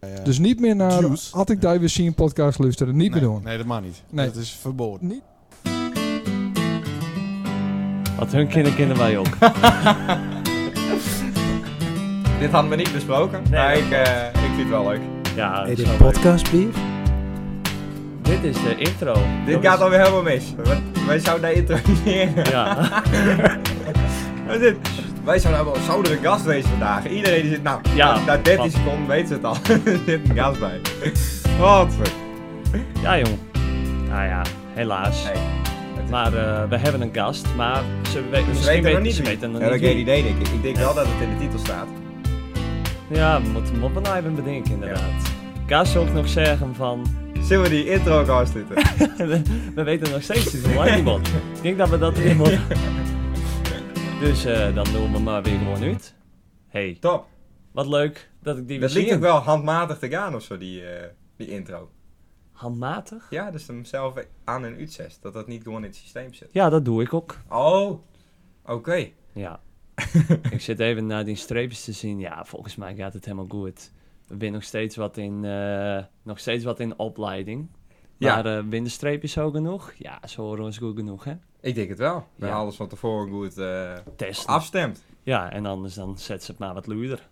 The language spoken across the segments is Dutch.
ja. Dus niet meer naar Juice. Had ik daar weer zien podcast luisteren. Niet nee, meer doen. Nee, dat mag niet. Nee. Dat is verboden. Niet. Wat hun kinderen kennen wij ook. Dit hadden we niet besproken, Nee, maar dat ik, eh, ik vind het wel leuk. Ja, Hey, dat is dit wel leuk. podcast bier? Dit is de intro. Dit jongens. gaat alweer helemaal mis. Want wij zouden daar introduceren. Ja. Wat is dit? Wij zouden hebben, zouden er een gast wezen vandaag. Iedereen die zit, nou, Ja, na- na 13 wat? seconden weet ze het al. er zit een gast bij. Wat voor... ja, jong. Nou ja, helaas. Nee, het is- Maar eh, we hebben een gast, maar ze, we- Ze misschien weten nog weten niet ze wie. weten nog Ja, dat niet is geen wie. idee, denk ik. Ik denk wel dat het in de titel staat. Ja, we moeten moppen nou even bedenken inderdaad. Ga ze ook nog zeggen van, Zullen we die intro ook afsluiten? we weten nog steeds niet hoe lang die wordt. Ik denk dat we dat erin moeten. Dus eh, dan doen we maar weer gewoon uit. Hey, Top. wat leuk dat ik die weer Dat liet ook zie. wel handmatig te gaan of zo, die, eh, die intro. Handmatig? Ja, dus hem zelf aan en uitzet. Dat dat niet gewoon in het systeem zit. Ja, dat doe ik ook. Oh, oké. Ja. ik zit even naar die streepjes te zien. Ja, volgens mij gaat het helemaal goed. We zijn nog steeds wat in, eh, nog steeds wat in opleiding. Ja. Maar eh winnen streepjes zo genoeg? Ja, ze horen ons goed genoeg, hè? Ik denk het wel. We Ja. hadden alles van tevoren goed eh Testen. afstemd. ja, en anders dan zet ze het maar wat luider.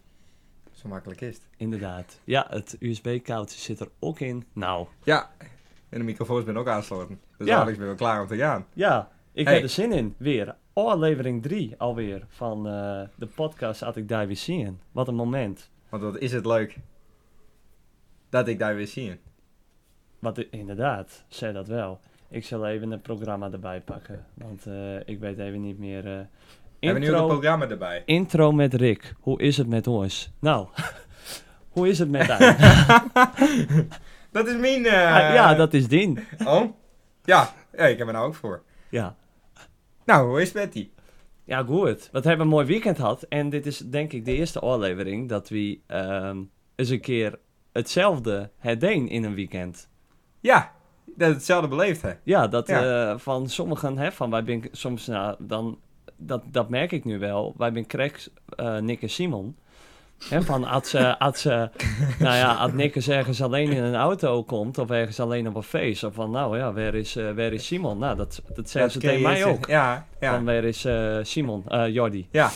Zo makkelijk is het. Inderdaad. Ja, het USB-koudje zit er ook in. Nou, Ja, en de microfoons ben ook aansloten. Dus Ja. Alex ben wel klaar om te gaan. ja, ik Hey. heb er zin in. Weer aflevering 3 alweer van eh, de podcast Had ik daar weer zien. Wat een moment. Want wat is het leuk dat ik daar weer zie. Wat i- inderdaad, zei dat wel. Ik zal even een programma erbij pakken, want eh, ik weet even niet meer. eh, We hebben nu ook een intro, programma erbij. intro met Rick. Hoe is het met ons? Nou, hoe is het met haar? Dat is mijn... eh, Ah, ja, dat is Dien. Oh? Ja. ja, ik heb er nou ook voor. Ja. Nou, hoe is het met die? ja, goed. Wat hebben we een mooi weekend gehad. En dit is denk ik de eerste aflevering dat we ehm, eens een keer hetzelfde herdeen in een weekend. Ja, dat is hetzelfde beleefd, hè? Ja, dat Ja. eh, van sommigen, hè, van wij ben ik soms, nou, dan, dat, dat merk ik nu wel. Wij ben Craig, eh, Nick en Simon. Hè, van als, ze, als, ze, nou ja, als Nick eens ergens alleen in een auto komt of ergens alleen op een feest. Of van, nou ja, waar is, eh, waar is Simon? Nou, dat, dat zeggen ze ken tegen je mij ze- ook. Ja, ja. Van, waar is eh, Simon, eh Jordi? Ja.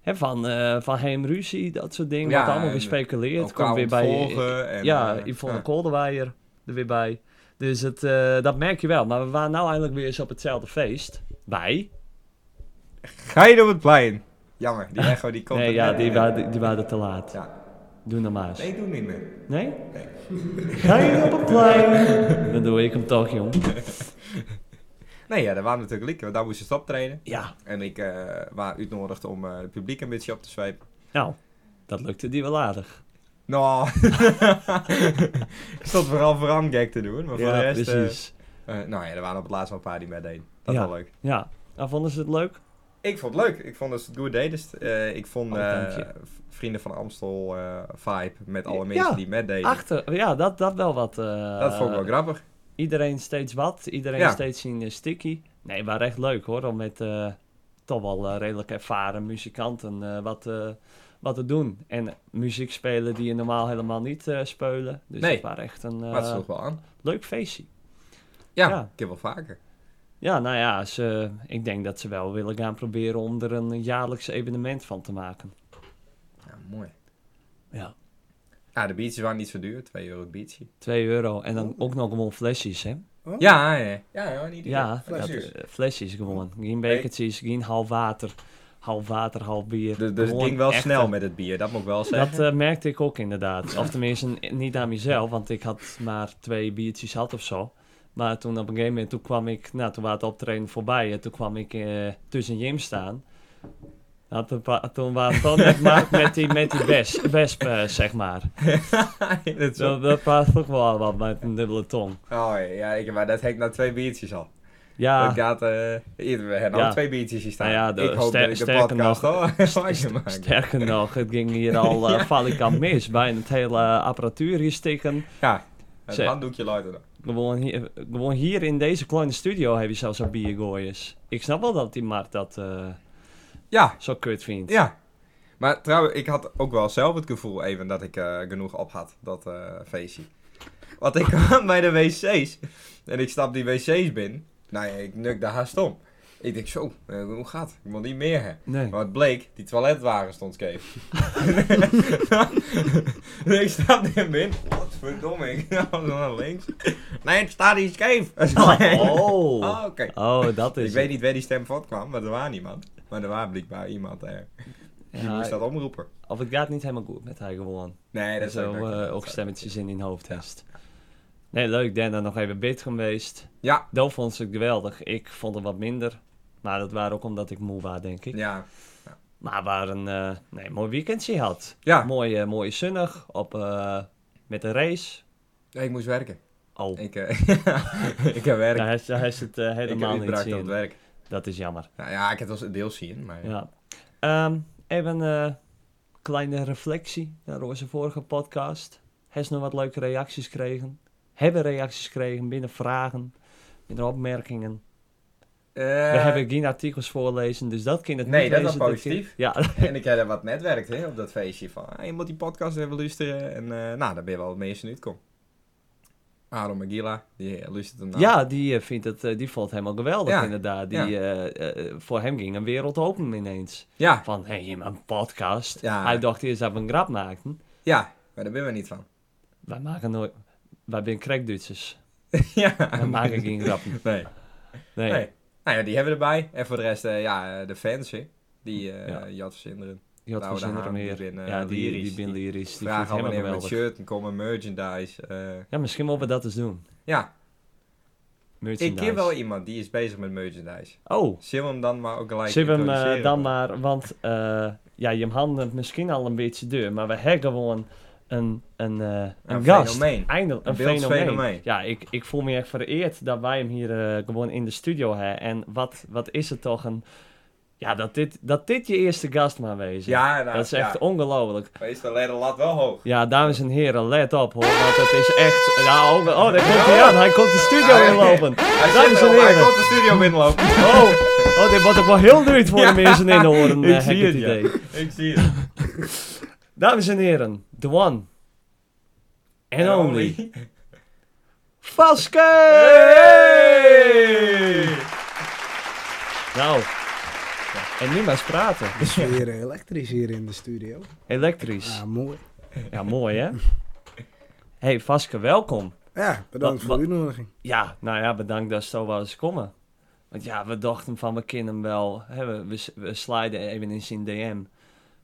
Hè, van, eh, van hem ruzie, dat soort dingen. Ja, wordt allemaal en gespeculeerd. Elkaar Komt weer bij, eh, ontvolgen en, ja, eh, Yvonne ja. Kolderweijer er weer bij. Dus het, eh, dat merk je wel. Maar we waren nou eigenlijk weer eens op hetzelfde feest. Wij? Ga je op het plein? Jammer, die echo die komt nee, er ja, net die in. waren, die waren te laat. Ja. Doe nou maar eens. Nee, doe niet meer. Nee? Ga je op het plein? Dan doe ik hem toch, jong. Nee, ja, dat waren natuurlijk lieken, want daar moesten ze optreden. Ja, En ik eh was uitnodigd om eh, het publiek een beetje op te zwepen. nou, dat lukte die wel aardig. Nou, ik stond vooral voor aan gek te doen, maar voor de ja, rest... eh, precies. eh, nou ja, er waren op het laatst wel een paar die meededen. Dat Ja. was leuk. Ja, nou, vonden ze het leuk? Ik vond het leuk. Ik vond dat ze het goed deden. Dus, eh, ik vond Oh, dank eh, je. v- Vrienden van Amstel eh, vibe met alle Ja. mensen die meededen. Achter, ja, dat, dat wel wat. eh, dat vond ik wel grappig. iedereen steeds wat, iedereen Ja. steeds in eh, sticky. Nee, maar echt leuk hoor, om met eh, toch wel eh, redelijk ervaren muzikanten eh, wat, eh, wat te doen. En muziek spelen die je normaal helemaal niet eh spelen. Dus Nee. het was echt een eh, maar het sloeg wel aan. leuk feestje. Ja, ja. ik heb wel vaker. Ja, nou ja, ze, ik denk dat ze wel willen gaan proberen om er een jaarlijks evenement van te maken. Ja, mooi. Ja. Ja, de biertjes waren niet zo duur. 2 euro het biertje. 2 euro en dan ook nog gewoon flesjes, hè? Ja, ja. Oh. Ja, ja, niet Ja, dat, flesjes. eh, flesjes gewoon. Geen bekertjes, geen half water. Half water, half bier. Dus, dus het Gewoon ging wel echte- snel met het bier, dat moet ik wel zeggen. Dat eh, merkte ik ook inderdaad. Of tenminste, n- niet aan mezelf, want ik had maar twee biertjes had of zo. Maar toen op een gegeven moment, toen kwam ik, nou toen was het optreden voorbij en toen kwam ik eh, tussen Jim staan. Nou, toen, wa- toen was het dan net maar met die, met die wes- wesp, eh, zeg maar. dat is wel- Dat, dat was toch wel wat met een dubbele tong. Oh ja, ik, maar dat heb ik na twee biertjes al. Ja, Ik had, eh, hier, we hebben al Ja. twee biertjes hier staan. Nou ja, de- ik hoop ster- dat ik de sterker podcast nog- al lang kan maken. sterker nog, het ging hier al eh valikant mis. Bijna het hele apparatuur hier stikken. Ja, het Ze- handdoekje luidt dan. Gewoon hier, gewoon hier in deze kleine studio heb je zelfs al biergooiers. Ik snap wel dat die Mart dat eh, Ja, zo kut vindt. ja. Maar trouwens, ik had ook wel zelf het gevoel even dat ik eh, genoeg op had, dat eh, feestje. Want ik kwam bij de wc's en ik stap die wc's binnen. Nou ja, ik nuk daar haast om. Ik denk zo, eh, hoe gaat? Ik moet niet meer hè. Nee. Maar het bleek, die toiletwagen stond scheef. Dus ik stap erin binnen. Wat verdomme, ik ga naar links. Nee, het staat hier scheef. Oh. Oh, oké. Oh, dat is. Ik weet niet waar die stem van kwam, maar er was niemand. Maar er was blijkbaar iemand er. Ja, Die moest dat omroepen. Of het gaat niet helemaal goed met haar gewoon. Nee, dat is Zo ook- eh, ook stemmetjes in in hoofd heeft. Nee, leuk. Dan dan nog even bit geweest. Ja. Dat vond ze geweldig. Ik vond het wat minder. Maar dat waren ook omdat ik moe was, denk ik. Ja. Maar waar een eh, nee, mooi weekendje had. Ja. Mooi, eh, mooi zonnig. Op, eh, met de race. Nee, ik moest werken. Oh, Ik, eh, ik heb werk. daar is, daar is het eh, ik helemaal heb niet braak op het zien. werk. Dat is jammer. Nou ja, ik heb het wel deels zien, maar... Ja. Ehm, even een kleine reflectie naar onze vorige podcast. Heeft nog wat leuke reacties gekregen? Hebben reacties gekregen binnen vragen, binnen opmerkingen? Eh, We hebben geen artikels voorlezen, dus dat kan het Nee, niet dat is lezen wel dit keer. positief. Ja, En ik heb er wat netwerkt, hè, op dat feestje. Van, ah, je moet die podcast even luisteren. En eh, nou, daar ben je wel het meeste uit kom. Aaron Magila, die luistert hem nou. ja die, eh, vindt het, eh, die vond het helemaal geweldig Ja, inderdaad. Die, eh, eh, voor hem ging een wereld open ineens. Ja, Van, hé, hey, maar een podcast. Ja. Hij dacht eerst dat we een grap maakten. ja, maar daar ben we niet van. Wij maken nooit... Wij zijn crackduitsers. ja. Wij maken geen grappen. Nee. Nee. Nee. Nou ja, die hebben we erbij. En voor de rest, eh, ja, eh, de fans, hè. Die eh Ja. ja. Jat Sinderen. Die had Nou, voor de zin er Haan, meer. die ben, eh, ja, die, lyrisch. die ben Die lyrisch. Die vindt Vragen helemaal wanneer we met geweldig. shirt en komen, merchandise. eh, Ja, misschien moeten we dat eens doen. ja, ik Merchandise. ken wel iemand die is bezig met merchandise. Oh, Zullen we hem dan maar ook gelijk zullen we hem eh, introduceren? dan maar... Want eh, ja, je handelt misschien al een beetje deur. Maar we hebben gewoon een, een, eh, een, Een gast. fenomeen. Eindelijk een, Een beeldfenomeen. fenomeen. Ja, ik, ik voel me echt vereerd dat wij hem hier eh, gewoon in de studio hebben. En wat, wat is het toch een... Ja, dat dit, dat dit je eerste gast mag wezen. Ja, nou, dat is echt ja. ongelooflijk. Meestal leggen de lat wel hoog. Ja, dames en heren, let op hoor, want het is echt... Ja, oh, oh, daar komt hij aan, hij komt de studio Ah, inlopen. Hij Dames zit en er al, hij heren, komt de studio binnenlopen. oh, oh, dit wordt ook wel heel duur voor de mensen in de oren, ik eh, heb zie ik het het, ja. idee. Ik zie het. Dames en heren, the one and only, Vaske! Nou, en nu maar eens praten, Het is weer eh, elektrisch hier in de studio. elektrisch. Ah, mooi. Ja, mooi hè? Hey Vaske, welkom. Ja, bedankt Wat- voor wat- de uitnodiging. Ja, nou ja, bedankt dat ze zo wel eens komen. Want ja, we dachten van, we kennen hem wel. Hè, we, we, s- we sliden even in zijn DM.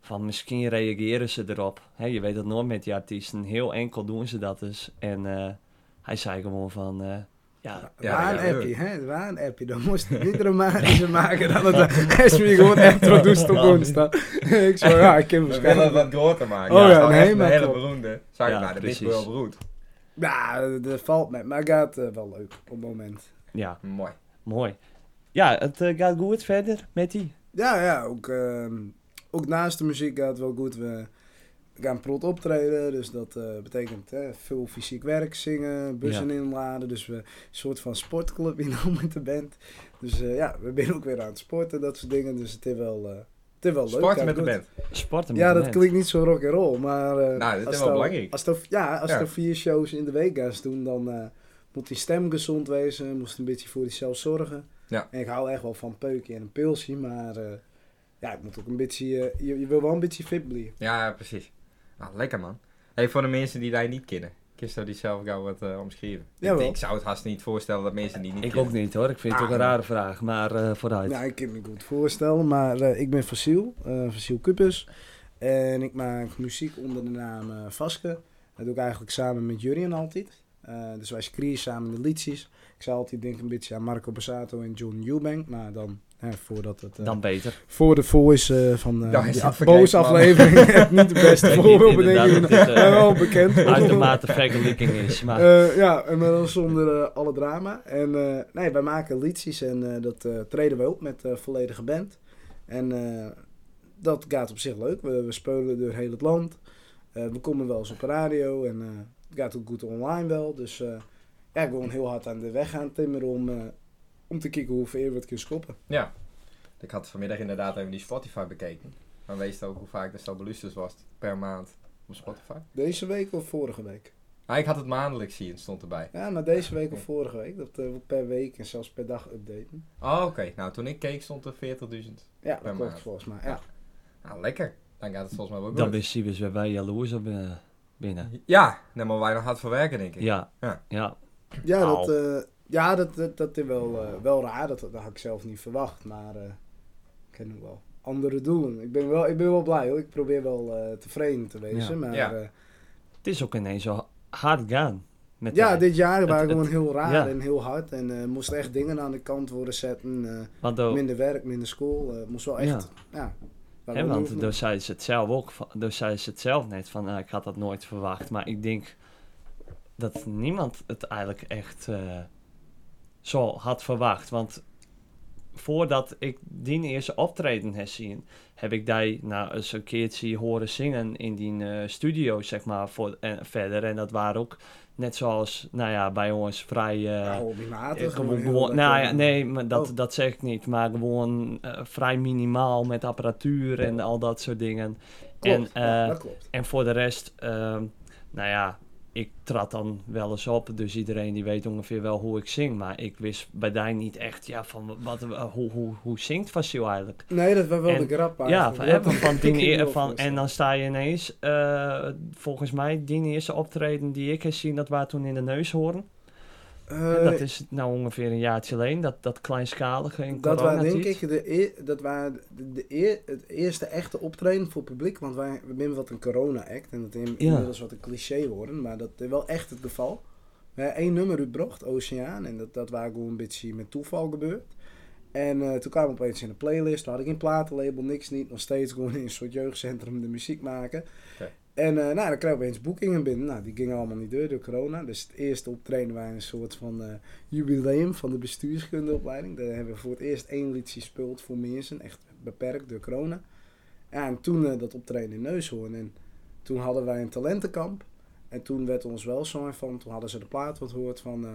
Van misschien reageren ze erop. Hè, je weet dat nooit met die artiesten. Heel enkel doen ze dat dus. En eh, hij zei gewoon van, eh, ja, Ja, waar ja, een leuk. appje, hè? Waar een appje. Dan moest het niet dramatischer maken dan het als je gewoon introduced op woensdag. ik zo, ja, ik ken We willen waarschijnlijk... wat door te maken. Oh ja, dat is wel nee, echt maar Een hele klopt. beroemde. Zou ik Ja, nou, dat is precies. wel beroemd. Nou, dat valt met, maar het gaat eh, wel leuk op het moment. ja, Mooi. mooi. Ja, het eh, gaat goed verder met die. Ja, ja, ook, ehm, ook naast de muziek gaat het wel goed. We gaan prot optreden, dus dat eh, betekent eh, veel fysiek werk, zingen, bussen inladen. Dus we een soort van sportclub in al met de band. Dus eh, ja, we zijn ook weer aan het sporten, dat soort dingen. Dus het is wel, eh het is wel leuk. Sporten gaat met de goed. band. Sporten met Ja, de dat band. klinkt niet zo rock and roll, maar... eh, Nou, dit als is wel dan- belangrijk. Als dan- ja, als Ja. er vier shows in de week gaat doen, dan eh, moet die stem gezond wezen, moest een beetje voor jezelf zorgen. Ja. En ik hou echt wel van peukje en een pilsje, maar eh, ja, ik moet ook een beetje, eh, je, je wil wel een beetje fit blijven. Ja, precies. Nou, lekker man. Hey, voor de mensen die jij niet kennen. Kist zou die zelf gauw wat eh, omschrijven. Ik, Jawel. ik zou het haast niet voorstellen dat mensen die niet Ik kennen. ook niet hoor, ik vind het Ah, ook een nee. rare vraag. Maar eh, vooruit. Nou, ik kan me goed voorstellen, maar eh, ik ben Fossiel, eh Fossiel Cupus. En ik maak muziek onder de naam eh, Vaske. Dat doe ik eigenlijk samen met Jurien altijd. Eh, dus wij screenen samen de liedjes. Ik zou altijd denken een beetje aan Marco Bassato en John Eubank, maar dan hè, voordat het... eh, Dan beter. voor de voice eh, van eh Ja, is die het af- verkeerd, boze man. aflevering. Echt niet de beste Ik weet niet, voorbeeldbedenkingen. inderdaad, dat dit, eh, Maar wel bekend. Uitermate vergelijking is, maar... Eh, ja, en maar dan zonder eh, alle drama. En eh, nee, wij maken liedjes en eh, dat eh, treden we op met eh volledige band. En eh, dat gaat op zich leuk. We, we spelen door heel het land. Eh, we komen wel eens op radio en eh, het gaat ook goed online wel. Dus eh ja, gewoon heel hard aan de weg gaan timmeren om, eh, om te kijken hoe ver we het kunnen schoppen. Ja. Ik had vanmiddag inderdaad even die Spotify bekeken. Maar weet je ook hoe vaak de stel belusters was per maand op Spotify? Deze week of vorige week? Ah, ik had het maandelijks zien, stond erbij. Ja, maar deze week of vorige week. Dat eh, wordt per week en zelfs per dag updaten. Oh, oké. Nou, toen ik keek stond er 40.000. Ja, Per dat maand. klopt volgens mij. Ja. Nou, lekker. Dan gaat het volgens mij wel Dan goed. is Sibis weer wij jaloers op eh, binnen. Ja, nee, maar weinig hard voor werken, denk ik. Ja, Ja. ja. Ja, Au. dat, eh, ja dat, dat, dat is wel, eh, wel raar. Dat, dat had ik zelf niet verwacht. Maar eh, ik heb nu wel andere doelen. Ik ben wel, ik ben wel blij hoor. Ik probeer wel eh, tevreden te wezen. Ja. Maar eh, Ja. ja, Het is ook ineens zo hard gaan. Met ja haar. dit jaar waren het- gewoon heel raar ja. en heel hard. En eh moest echt dingen aan de kant worden zetten. eh, Want, ook- minder werk, minder school. eh moest wel echt... Ja. Oh. hè, Waar we want doen. daar zei ze het zelf ook. van- Daar zei ze het zelf net van, nou, ik had dat nooit verwacht. Maar ik denk dat niemand het eigenlijk echt eh, zo had verwacht. Want voordat ik die eerste optreden heb zien, heb ik die nou eens een keertje horen zingen in die eh, studio, zeg maar, voor, en verder. En dat waren ook net zoals, nou ja, bij ons vrij... eh, Ja, hobbymatig. Ja, gewoon, heel gewoon- lekker. nou ja, nee, maar dat, Oh. dat zeg ik niet. Maar gewoon eh, vrij minimaal met apparatuur en al dat soort dingen. Klopt, en, ja, eh, dat klopt. En voor de rest, ehm, nou ja, ik trad dan wel eens op. Dus iedereen die weet ongeveer wel hoe ik zing. Maar ik wist bij Dijn niet echt, ja, van wat, hoe, hoe, hoe zingt Vasil eigenlijk? Nee, dat was wel en- de grap Ja, eigenlijk. van, Dat hè, van, had van ik die niet eer- heel van, en voorgesteld. dan sta je ineens, eh, volgens mij, die eerste optreden die ik heb zien, dat was toen in de neushoorn. Eh, dat is nou ongeveer een jaartje alleen, dat, dat kleinschalige in Dat waren denk coronatijd. ik de, eer- dat waren de, de eer- het eerste echte optreden voor het publiek. Want wij we hebben wat een corona-act. En dat is inmiddels wat een cliché worden. Maar dat is wel echt het geval. We hebben één nummer uitbracht, Oceaan. En dat, dat waren gewoon een beetje met toeval gebeurd. En eh, toen kwam ik opeens in de playlist. Toen had ik in platenlabel niks niet. Nog steeds gewoon in een soort jeugdcentrum de muziek maken. Oké. En eh, nou, dan kreeg ik opeens boekingen binnen. Nou, die gingen allemaal niet door door corona. Dus het eerste optreden waren een soort van... eh, jubileum van de bestuurskundeopleiding. Daar hebben we voor het eerst één liedje gespeeld voor mensen. Echt beperkt door corona. Ja, en toen eh, dat optreden in Neushoorn. En toen hadden wij een talentenkamp. En toen werd ons wel zo van... Toen hadden ze de plaat wat hoort van... eh,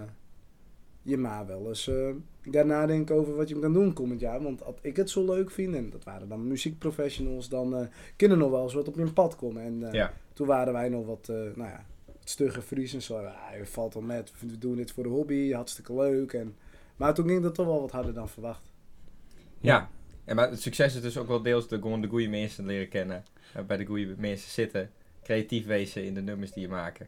je ma wel eens eh gaan nadenken over wat je hem kan doen komend jaar. Want als ik het zo leuk vind, en dat waren dan muziekprofessionals... dan eh, kunnen nog wel eens wat op je pad komen. En eh, Ja. toen waren wij nog wat, eh, nou ja, stugge Fries en zo. Ah, je valt al met, we doen dit voor de hobby, hartstikke leuk. En, maar toen ging dat toch wel wat harder dan verwacht. Ja. En maar het succes is dus ook wel deels door gewoon de goede mensen leren kennen. En bij de goede mensen zitten. Creatief wezen in de nummers die je maken.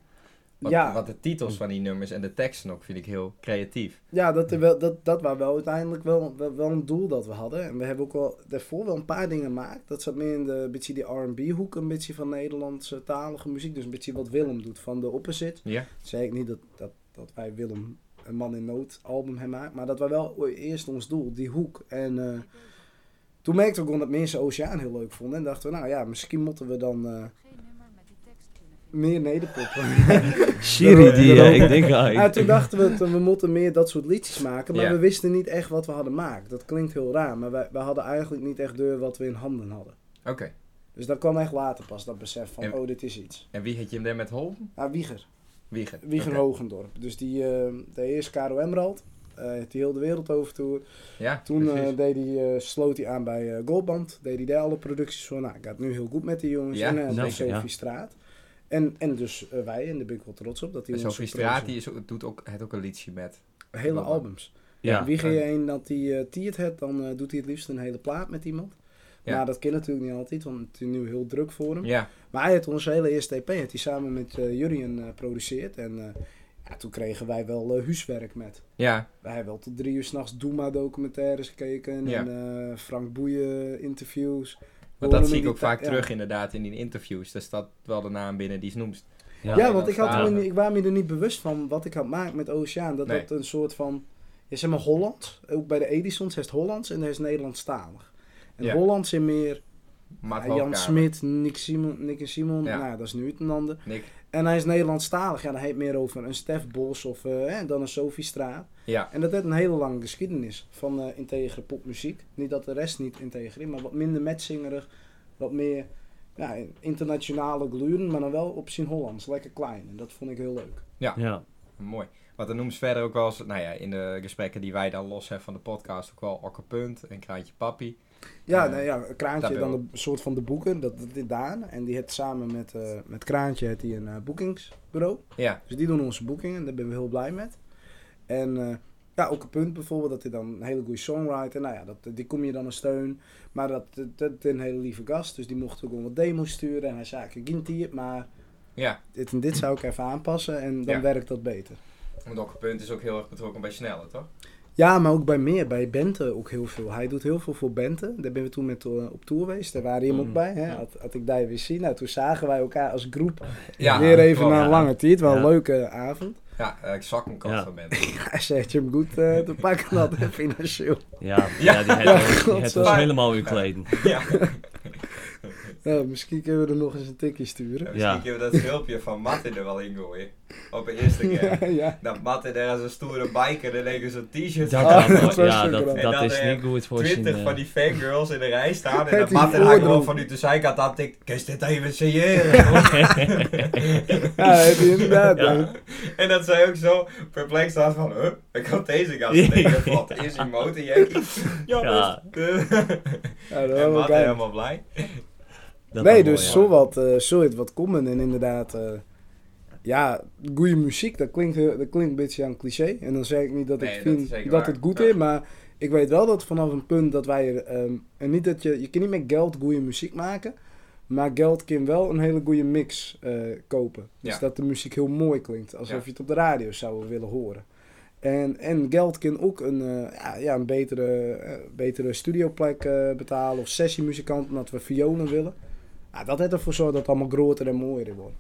Wat, Ja. Hm. wat de titels van die nummers en de teksten ook vind ik heel creatief. Ja, dat, er wel, dat, dat was wel uiteindelijk wel, wel, wel een doel dat we hadden. En we hebben ook wel daarvoor wel een paar dingen gemaakt. Dat zat meer in de, een beetje die R&B-hoek, een beetje van Nederlandse talige muziek. Dus een beetje wat Willem doet van de opposite. Ja. zei ik niet dat, dat, dat wij Willem een man in nood album hebben gemaakt, maar dat wij wel eerst ons doel, die hoek. En eh, toen merkte ik ook dat mensen Oceaan heel leuk vonden en dachten we, nou ja, misschien moeten we dan eh, meer nederpoppen. Siri, die, Dat- eh, ik denk, ah, ik- Ja, toen dachten we, te- we moeten meer dat soort liedjes maken, maar Ja. we wisten niet echt wat we hadden gemaakt. Dat klinkt heel raar, maar wij, wij hadden eigenlijk niet echt deur wat we in handen hadden. Oké. Dus dat kwam echt later pas, dat besef van, En- oh, dit is iets. En wie had je hem daar met Holm? Ah, Wieger. Wieger. Wieger Oké. Hogendorp. Dus die, eh de eerste Caro Emerald, eh die heel de wereld overtoer. Ja, Toen eh, precies. deed hij, eh, sloot hij aan bij eh Goldband. Deed hij daar alle producties voor. Nou, gaat nu heel goed met die jongens. Ja, en eh, bij zeker, Sophie ja. Straat. En, en dus eh, wij, en daar ben ik wel trots op. Dat die En ons Sophie zo trots Straat die is ook, doet ook, heeft ook een liedje met. op- Hele Goldman. albums. ja. Wie ja. je een dat hij eh tiert het, dan eh, doet hij het liefst een hele plaat met iemand. Ja. Maar dat kan natuurlijk niet altijd, want het is nu heel druk voor hem. Ja. Maar hij heeft onze hele eerste EP, heeft hij samen met eh Jurien eh, geproduceerd. En eh, ja, toen kregen wij wel eh, huiswerk met. Ja. Wij hebben wel tot drie uur s'nachts Doema-documentaires gekeken. Ja. En eh, Frank Boeien-interviews. Want Horen dat we zie ik die ook vaak ta- ja. terug inderdaad in die interviews. Daar staat wel de naam binnen die ze noemt. Ja, Ja, want dat ik, had staat er. me, niet- ik was me er niet bewust van wat ik had gemaakt met Oceaan. Dat Nee. dat een soort van... Je zeg maar Holland. Ook bij de Edisons heeft Hollands en er is Nederlandstalig. En Ja. Hollands in meer Maar ja, Jan Smit, Nick, Simon, Nick en Simon. Ja. Nou, dat is nu het een ander. Nick. En hij is Nederlandstalig. Ja, dan heet meer over een Stef Bos of eh, hè, dan een Sophie Straat. Ja. En dat heeft een hele lange geschiedenis van eh, integere popmuziek. Niet dat de rest niet integer is, maar wat minder matzingerig, wat meer ja, internationale gluren, maar dan wel op zijn Hollands, lekker klein. En dat vond ik heel leuk. ja. Mooi. Want dan noemen ze verder ook wel eens, nou ja, in de gesprekken die wij dan los hebben van de podcast, ook wel Okkerpunt en Kraantje Papi. Ja, Eh, nou ja, een kraantje daar dan ben een soort van de boeken, dat dat dit Daan. En die heeft samen met, eh, met Kraantje heeft hij een eh, boekingsbureau. Ja, Dus die doen onze boekingen en daar ben we heel blij mee. En eh, ja, ook een punt bijvoorbeeld dat hij dan een hele goede songwriter, nou ja, dat, die kom je dan een steun. Maar dat, dat, dat is een hele lieve gast, dus die mocht ook wel wat demos sturen. En hij zei, ik ging die het, maar ja. dit en dit zou ik even aanpassen en dan Ja. werkt dat beter. Want Okkerpunt is ook heel erg betrokken bij snelle, toch? Ja, maar ook bij meer, bij Bente ook heel veel. Hij doet heel veel voor Bente. Daar ben we toen met, eh, op tour geweest. Daar waren hem ook Mhm. Mm. bij. Hè? Ja. Had, had ik daar weer zien. Nou, toen zagen wij elkaar als groep Ja, weer even klopt. na een lange tijd. Wel een Ja. leuke avond. Ja, eh, ik zak een kast Ja. van mensen. Hij zegt je hem goed eh, te pakken had hè, financieel. Ja, Ja. ja, die heeft God, die heeft eh. ons helemaal uw kleden. ja. Nou, misschien kunnen we er nog eens een tikje sturen. Ja, Misschien kunnen we dat filmpje van Matte er wel in gooien. Op de eerste keer. ja. Dat Matte daar als een stoere biker en lekker zo'n Dat t-shirt kan Ah, nooit. dat was Ja, zeker dat, dan. En dat dat is er niet goed voor zijn... 20 eh, van die fangirls in de rij staan en Met dat die Matte daar gewoon voordroom. van de zijkant aan tikt. Kun je dit even signeren? hoor?" Ja, heb je inderdaad. Ja. hè. en dat zij ook zo perplex staat van, huh, ik had deze Ja. gast tegen. Wat is die motorjackie? Ja, Ja. dat is- Ja, dat en wel Matte kijk. helemaal blij. dat wel nee, dus mooi, ja. zo wat, eh, zo het wat komen. En inderdaad, eh, ja, goede muziek, dat klinkt, eh, dat klinkt een beetje aan cliché. En dan zeg ik niet dat Nee, ik dat is vind dat, zeker waar. het goed Ja. is, maar ik weet wel dat vanaf een punt dat wij er, ehm, en niet dat je, je kan niet met geld goede muziek maken, maar geld kan wel een hele goede mix eh, kopen. Dus Ja. dat de muziek heel mooi klinkt, alsof Ja. je het op de radio zou willen horen. En, en geld kan ook een, eh, ja, ja, een betere, eh, betere studioplek eh, betalen of sessiemuzikant omdat we violen willen. Ja, dat heeft ervoor zorgt dat het allemaal groter en mooier wordt.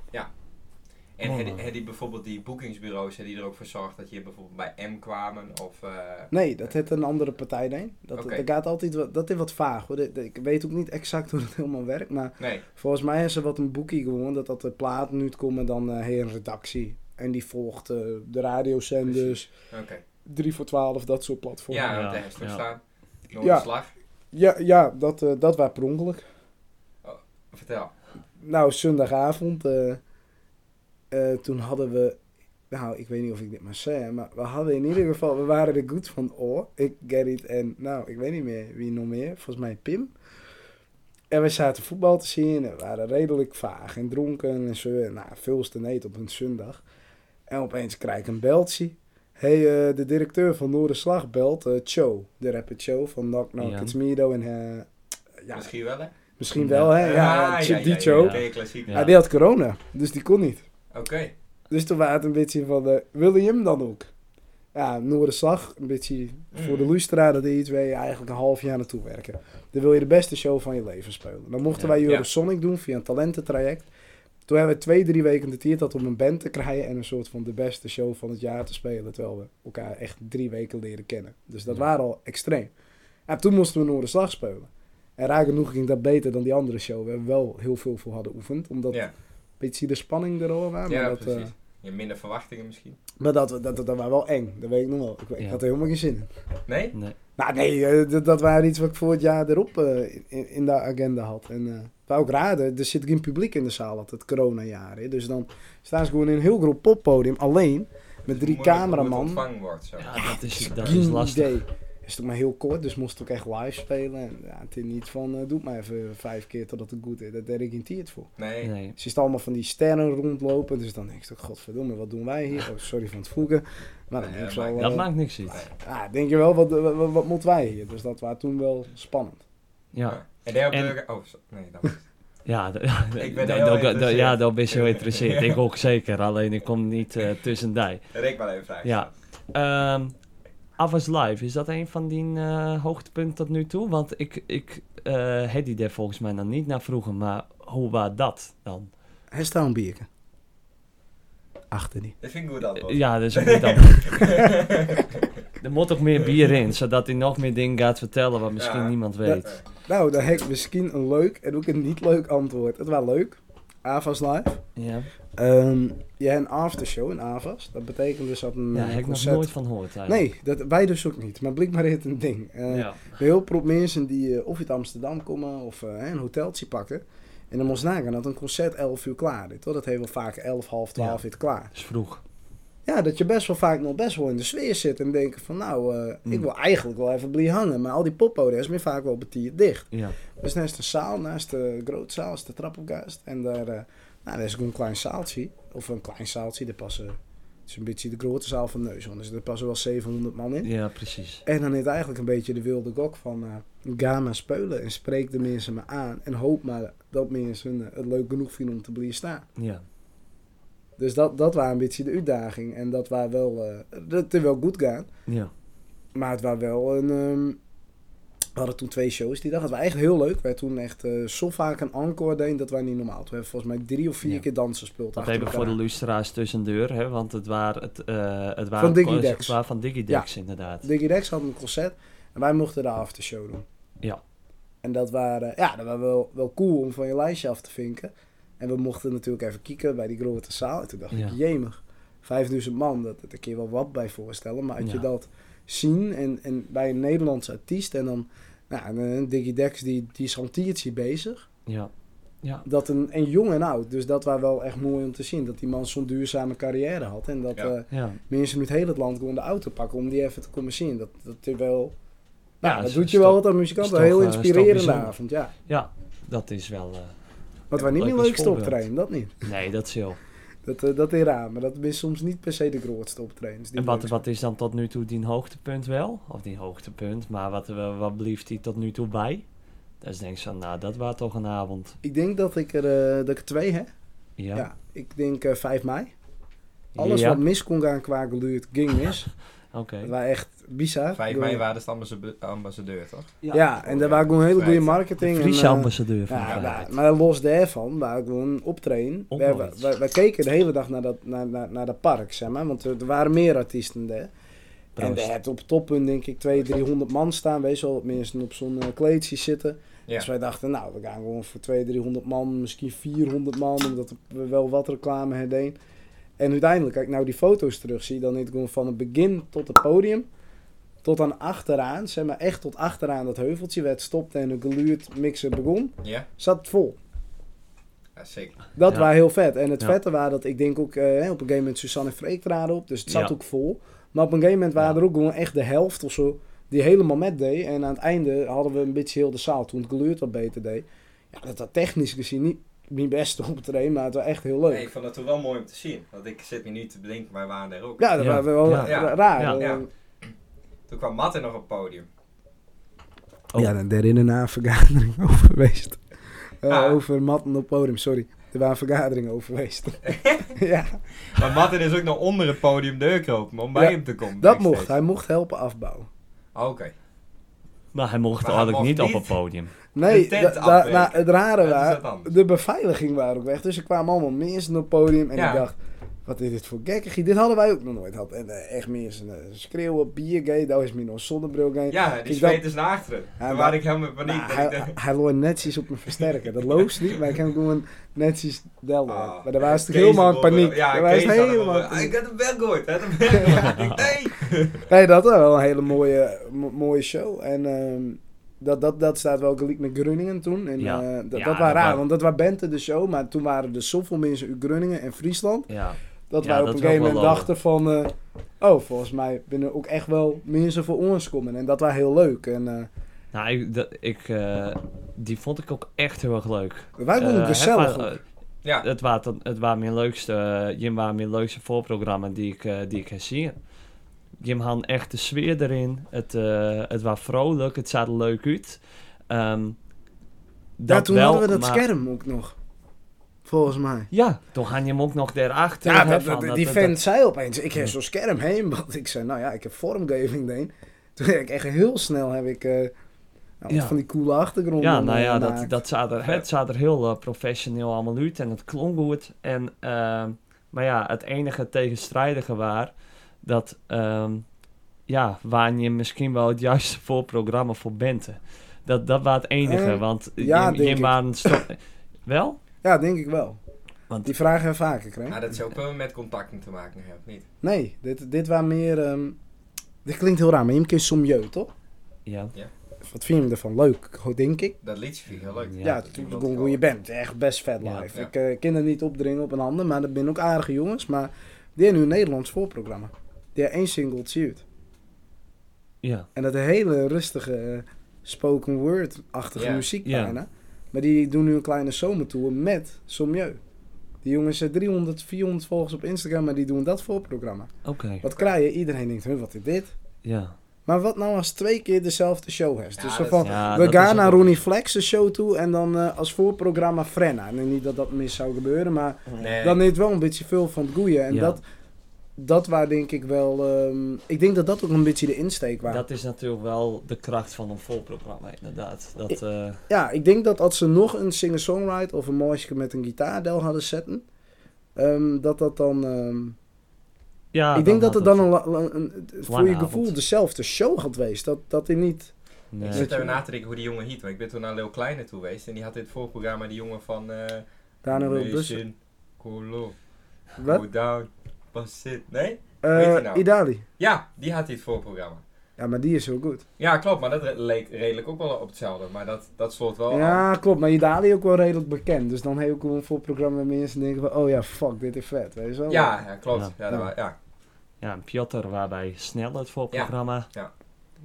En Oh. had- had die bijvoorbeeld die boekingsbureaus had die er ook voor zorgd dat je bijvoorbeeld bij M kwamen of... eh, Nee, dat heeft een andere partij dan. Dat, Oké. dat gaat altijd wat, dat is wat vaag hoor. Dit- dit- Ik weet ook niet exact hoe dat helemaal werkt, maar nee, volgens mij is er wat een boekie gewoon dat dat de plaat nu komen dan eh heen redactie. En die volgt eh, de radiozenders, oké. 3 voor 12, dat soort platformen. Ja, Ja, want daar is ja. staan. Nog Ja. een slag. Ja, ja dat, eh, dat was per ongeluk. Vertel. Nou, zondagavond. eh, eh, toen hadden we. Nou, ik weet niet of ik dit maar zei, maar we hadden in ieder geval. We waren er goed van. Oh, ik, Gerrit en. Nou, ik weet niet meer wie nog meer. Volgens mij Pim. En we zaten voetbal te zien en we waren redelijk vaag en dronken en zo. Nou, veel te neet op een zondag. En opeens krijg ik een beltje. Hé, hey, eh, de directeur van Noorderslag belt eh Cho, de rapper Cho van Knock Knock Ja. It's Mido en... eh, ja, Misschien wel, hè? misschien wel, hè? Ja, Ah, die Cho. Ben je klassiek. Ja. Hij die had corona, dus die kon niet. Oké. Dus toen waren het een beetje van, eh, wil je hem dan ook? Ja, Noorderslag, een beetje voor Mm. Hmm. de Lustra, dat iets waar je eigenlijk een half jaar naartoe werken. Dan wil je de beste show van je leven spelen. Dan Ja. mochten wij Ja. Eurosonic doen via een talententraject. Toen hebben we twee, drie weken de tijd dat om een band te krijgen en een soort van de beste show van het jaar te spelen. Terwijl we elkaar echt drie weken leren kennen. Dus dat Ja. waren al extreem. En toen moesten we Noorderslag spelen. En raar genoeg ging dat beter dan die andere show. We hebben wel heel veel voor hadden oefend, omdat Ja, beetje de spanning erover. Maar, ja dat, eh, precies. Je hebt minder verwachtingen misschien. maar dat, dat, dat, dat was wel eng. Dat weet ik nog wel. Ik, ik Ja. had er helemaal geen zin in. Nee? Nee. Nou nee, eh, dat, dat waren iets wat ik voor het jaar erop eh, in, in de agenda had. En eh wou ik raden, er zit geen publiek in de zaal had het coronajaar. Hè. Dus dan staan ze gewoon in een heel groot poppodium alleen. Met drie cameraman. ontvangen wordt zo. Ja, dat is, dat Geen is lastig. idee. Is toch maar heel kort, dus moest ik echt live spelen. En ja, het is niet van, eh, doe het maar even vijf keer totdat het goed is. Daar deed ik geen tiert voor. Nee. Nee. Ze ziet allemaal van die sterren rondlopen. Dus dan denk ik, toch, godverdomme, wat doen wij hier? Oh, sorry van het voegen. Maar dan Nee, denk ik dat zo, maakt- eh, Dat maakt niks uit. ah, denk je wel, wat, wat, wat, moeten wij hier? Dus dat was toen wel spannend. Ja, En daar op En- de... Oh, zo- nee, dat was het. ja, d- heel d- d- geïnteresseerd. ja, daar ben je heel geïnteresseerd. Ja. Ik ook zeker, alleen ik kom niet eh tussen die. Rick wel even vragen. Ja. Ehm Avas Live, is dat een van die eh, hoogtepunten tot nu toe? Want ik, ik eh had die daar volgens mij nog niet naar vroegen, maar hoe was dat dan? Hij staat een bierke. Achter die. Dat vind ik goed dat was. ja, dat is ook niet dan. er moet ook meer bier in, zodat hij nog meer dingen gaat vertellen wat misschien Ja. niemand weet. Nou, dan heb ik misschien een leuk en ook een niet leuk antwoord. Het was leuk. Avas Live. Ja, Ehm, je hebt een aftershow in Avas. Dat betekent dus dat een ja heb eh, ik nog concert- nooit van gehoord eigenlijk. Nee, dat, wij dus ook niet. Maar blijkbaar is het een ding. Eh, Ja. Heel veel mensen die eh, of uit Amsterdam komen of eh, een hoteltje pakken. En dan moest nagaan dat een concert 11 uur klaar is. Hoor. Dat heeft wel vaak 11, half 12 Ja. uur klaar. Dat is vroeg. Ja, dat je best wel vaak nog best wel in de sfeer zit en denken van nou, eh, ik Mm. wil eigenlijk wel even blij hangen. Maar al die poppodia is meer vaak wel betiert dicht. Ja. Dus naast de zaal, naast de grootzaal, is de trappenkuist. En daar, eh nou, daar is ook een klein zaaltje. Of een klein zaaltje, daar passen, het is een beetje de grote zaal van Neushoorn. Dus daar passen wel 700 man in. ja, precies. En dan is het eigenlijk een beetje de wilde gok van eh, ga maar spelen en spreek de mensen maar aan. En hoop maar dat mensen eh, het leuk genoeg vinden om te blijven staan. Ja. Dus dat, dat was een beetje de uitdaging. En dat was wel, eh dat is wel goed gaan. Ja. Maar het was wel een... ehm, we hadden toen twee shows die dag. Het was echt heel leuk. We hebben toen echt eh, zo vaak een encore deden, dat was niet normaal. Toen hebben we volgens mij drie of vier Ja. keer dansen gespeeld. Dat achter hebben we voor de elkaar. luisteraars tussendoor, hè, want het waren het, eh het waren Van Digidex. het waren van Digidex inderdaad. Diggy Rex had een concert en wij mochten de aftershow doen. Ja. En dat waren, ja, dat was wel, wel cool om van je lijstje af te vinken. En we mochten natuurlijk even kieken bij die grote zaal. En toen dacht Ja. ik, jemig, 5000 man, dat, dat kun je wel wat bij voorstellen. Maar als Ja. je dat zien en, en bij een Nederlandse artiest en dan, nou, en een Diggy Dex die, die is al een tiertje bezig. Ja. Dat een, en jong en oud, dus dat was wel echt mooi om te zien. Dat die man zo'n duurzame carrière had en dat... Ja. eh, Ja. mensen uit heel het land konden de auto pakken om die even te komen zien. Dat, dat is wel. Ja, Nou, dat is- doet is je wel toch- wat aan muzikanten. is toch, heel eh, is toch inspirerende bijzonder. avond, ja. Ja, dat is wel eh, Maar het was niet Leuk een als leukste voorbeeld. optreden, dat niet. nee, dat is heel. Dat, eh, dat is raar, maar dat is soms niet per se de grootste optredens. die En wat, leuk wat is dan tot nu toe die hoogtepunt wel? Of die hoogtepunt, maar wat, eh, wat blieft die tot nu toe bij? Dus denk je van, nou, dat was toch een avond. zijn. Ik denk dat ik er, eh, dat ik er twee heb. Ja. Ja. ik denk eh, 5 mei. Alles Ja, wat mis kon gaan qua geluid, ging mis. Oké. Dat was echt bizar. 5 Ik mei bedoel- waren ze ambassa- ambassadeur, toch? Ja, en daar waren gewoon hele goede marketing. en, Friese eh, ambassadeur van Ja, Feyenoord. maar, maar los daarvan, waar ik gewoon optreden. We, Ondanks. hebben- we, we keken de hele dag naar dat, naar, naar, naar dat park, zeg maar. Want er, er waren meer artiesten daar. En Proost. daar hebt op het toppunt, denk ik, 200, 300 man staan. Wees wel wat mensen op zo'n eh, kleedje zitten. Ja. Dus wij dachten, nou, we gaan gewoon voor 200, 300 man, misschien 400 man. Omdat we wel wat reclame herdeen. En uiteindelijk, als ik nou die foto's terugzie, dan is het gewoon van het begin tot het podium. Tot aan achteraan, zeg maar echt tot achteraan dat heuveltje werd stopt en de geluid mixen begon Ja? zat het vol. Ja, zeker. Dat Ja. was heel vet. En het Ja. vette was dat ik denk ook eh, op een gegeven moment Suzanne en Freek traden op. Dus het zat Ja. ook vol. Maar op een gegeven moment waren Ja. er ook gewoon echt de helft of zo die helemaal met deed. En aan het einde hadden we een beetje heel de zaal toen het geluid wat beter deed. Ja, dat had technisch gezien niet mijn beste optreden, maar het was echt heel leuk. Nee, ik vond het toen wel mooi om te zien. Want ik zit me nu te bedenken, wij waren daar ook. Ja, dat Ja. was wel Ja. ra- raar. Ja. Eh, Ja. Toen kwam Matte nog op het podium. Oh. Ja, dan daar is daarna een vergadering over geweest. Eh, Ah. Over matten op het podium, sorry. Er waren vergaderingen over geweest. ja, Maar Matte is ook nog onder het podium deurkropen om bij Ja, hem te komen. dat backstage. Ah, mocht. Hij mocht helpen afbouwen. Oké. Maar hij mocht Maar hij eigenlijk mocht niet op niet. het podium. Nee, De tent da- da- afbreken. nou, het rare Ja, dus dat is wat was, anders. de beveiliging waren ook weg. Dus er kwamen allemaal mensen op het podium. En Ja. ik dacht, wat is dit voor gekkigheid? Dit hadden wij ook nog nooit gehad. En eh, echt mensen eh, schreeuwen, bier gay, daar is meer nog zonnebril gay. Ja, die Ik dacht- zweet is naar achteren. Ja, Toen maar- was ik helemaal in paniek. Maar dat hij, ik eh, dacht- hij, hij loor netjes op me versterken. Dat loopt niet, maar ik heb gewoon netjes delen. Ah, maar daar was Kees natuurlijk helemaal in eronder. paniek. Ja, daar was Kees had hem helemaal in onder. paniek. Ik had hem wel gehoord. Hij had hem wel gehoord. Ik dacht, nee. Nee, dat was wel een hele mooie, mo- mooie show. En ehm, dat, dat, dat staat wel gelijk met Groningen toen. En, Ja. eh, dat, Ja, dat was dat raar, wa- want dat was Bente de show. Maar toen waren er zoveel mensen uit Groningen en Friesland. Ja. Dat Ja, wij op dat een is ook gegeven moment wel dachten van... eh, oh, volgens mij binnen ook echt wel mensen voor ons komen. En dat was heel leuk. En eh Nou, ik, dat, ik, eh, die vond ik ook echt heel erg leuk. wij Eh, konden het gezellig. wa- ook. eh, Ja, het was dan- het was mijn leukste, eh, Jim was mijn leukste voorprogramma die ik, eh, die ik heb zien. Jim had echt de sfeer erin. Het, eh, het was vrolijk, het zag er leuk uit. Ehm, dat ja, toen wel, hadden we dat maar- scherm ook nog. Volgens mij. Ja, toen had je hem ook nog daarachter. Ja, hè, dat, van dat- die dat- vent zei opeens, ik heb Ja. zo'n scherm heen. Want ik zei, nou ja, ik heb vormgeving deen. Toen heb ik echt heel snel heb ik, eh, nou, wat Ja. van die coole achtergrond. Ja, nou eh, ja, dat, gemaakt. dat zat er, het zat er heel eh, professioneel allemaal uit en het klonk goed. En, ehm, maar ja, het enige tegenstrijdige waar dat, ehm ja, waar je misschien wel het juiste voorprogramma voor bent. Dat, dat was het enige, Eh, want ja, je, denk je ik. waren sto- wel? Ja, denk ik wel. Want- Die vragen hebben we vaker gekregen. maar Nou, dat is ook wel met contacten te maken hebben, niet? Nee, dit, dit waren meer... ehm, dit klinkt heel raar, maar je hebt een keer somjeu, toch? Ja. Wat vind je ervan? Leuk, denk ik. Dat liedje vind ik heel leuk. Ja, Ja, het ik is wil gewoon dat hoe je wel. bent. Echt best vet Ja. live. Ja. Ik eh ken er niet opdringen op een ander, maar dat zijn ook aardige jongens. Maar Die hebben nu een Nederlands voorprogramma. Die hebben één singeltje uit. Ja. En dat hele rustige eh, spoken word-achtige Ja, muziek ja. bijna. Maar die doen nu een kleine zomertour met Sommieu. Die jongens zijn 300, 400 volgers op Instagram, maar die doen dat voorprogramma. Oké. Wat krijg je? Iedereen denkt, huh, wat is dit? Ja. Maar wat nou als twee keer dezelfde show hebt? Ja, dus zo dat- van, ja, we dat is gaan naar ook- Ronnie Flex de show toe en dan eh, als voorprogramma Frenna. En niet dat dat mis zou gebeuren, maar Nee. dan neemt wel een beetje veel van het goeie. En Ja. dat, dat waar denk ik wel... ehm, ik denk dat dat ook een beetje de insteek was. Dat is natuurlijk wel de kracht van een vol programma, inderdaad. Dat, eh, Ja, ik denk dat als ze nog een singer-songwriter of een mooisje met een gitaardel hadden zetten... ehm, dat dat dan... ehm, ja, ik denk dat had het dan een, la- la- een- voor je lange gevoel avond. dezelfde show had geweest. Dat, dat hij niet... Nee. Ik zit even na te denken hoe die jongen hiet. Want ik ben toen naar Lil Kleine toe geweest. En die had dit voorprogramma, die jongen van... eh Daarna wil bussen. Nation, Colo, Wat? Go down, pass it. Nee? Eh, Weet je nou? Idali. Ja, die had dit voorprogramma. Ja, maar die is heel goed. Ja, klopt. Maar dat re- leek redelijk ook wel op hetzelfde. Maar dat, dat sloot wel aan. Ja, klopt. Maar Idali is ook wel redelijk bekend. Dus dan heel cool voor programma waar mensen denken van... Oh ja, fuck, dit is vet. Weet je wel? Ja, ja, klopt. Ja, Ja. dat wa- ja. Ja, en Piotr waarbij snel het voorprogramma. Ja,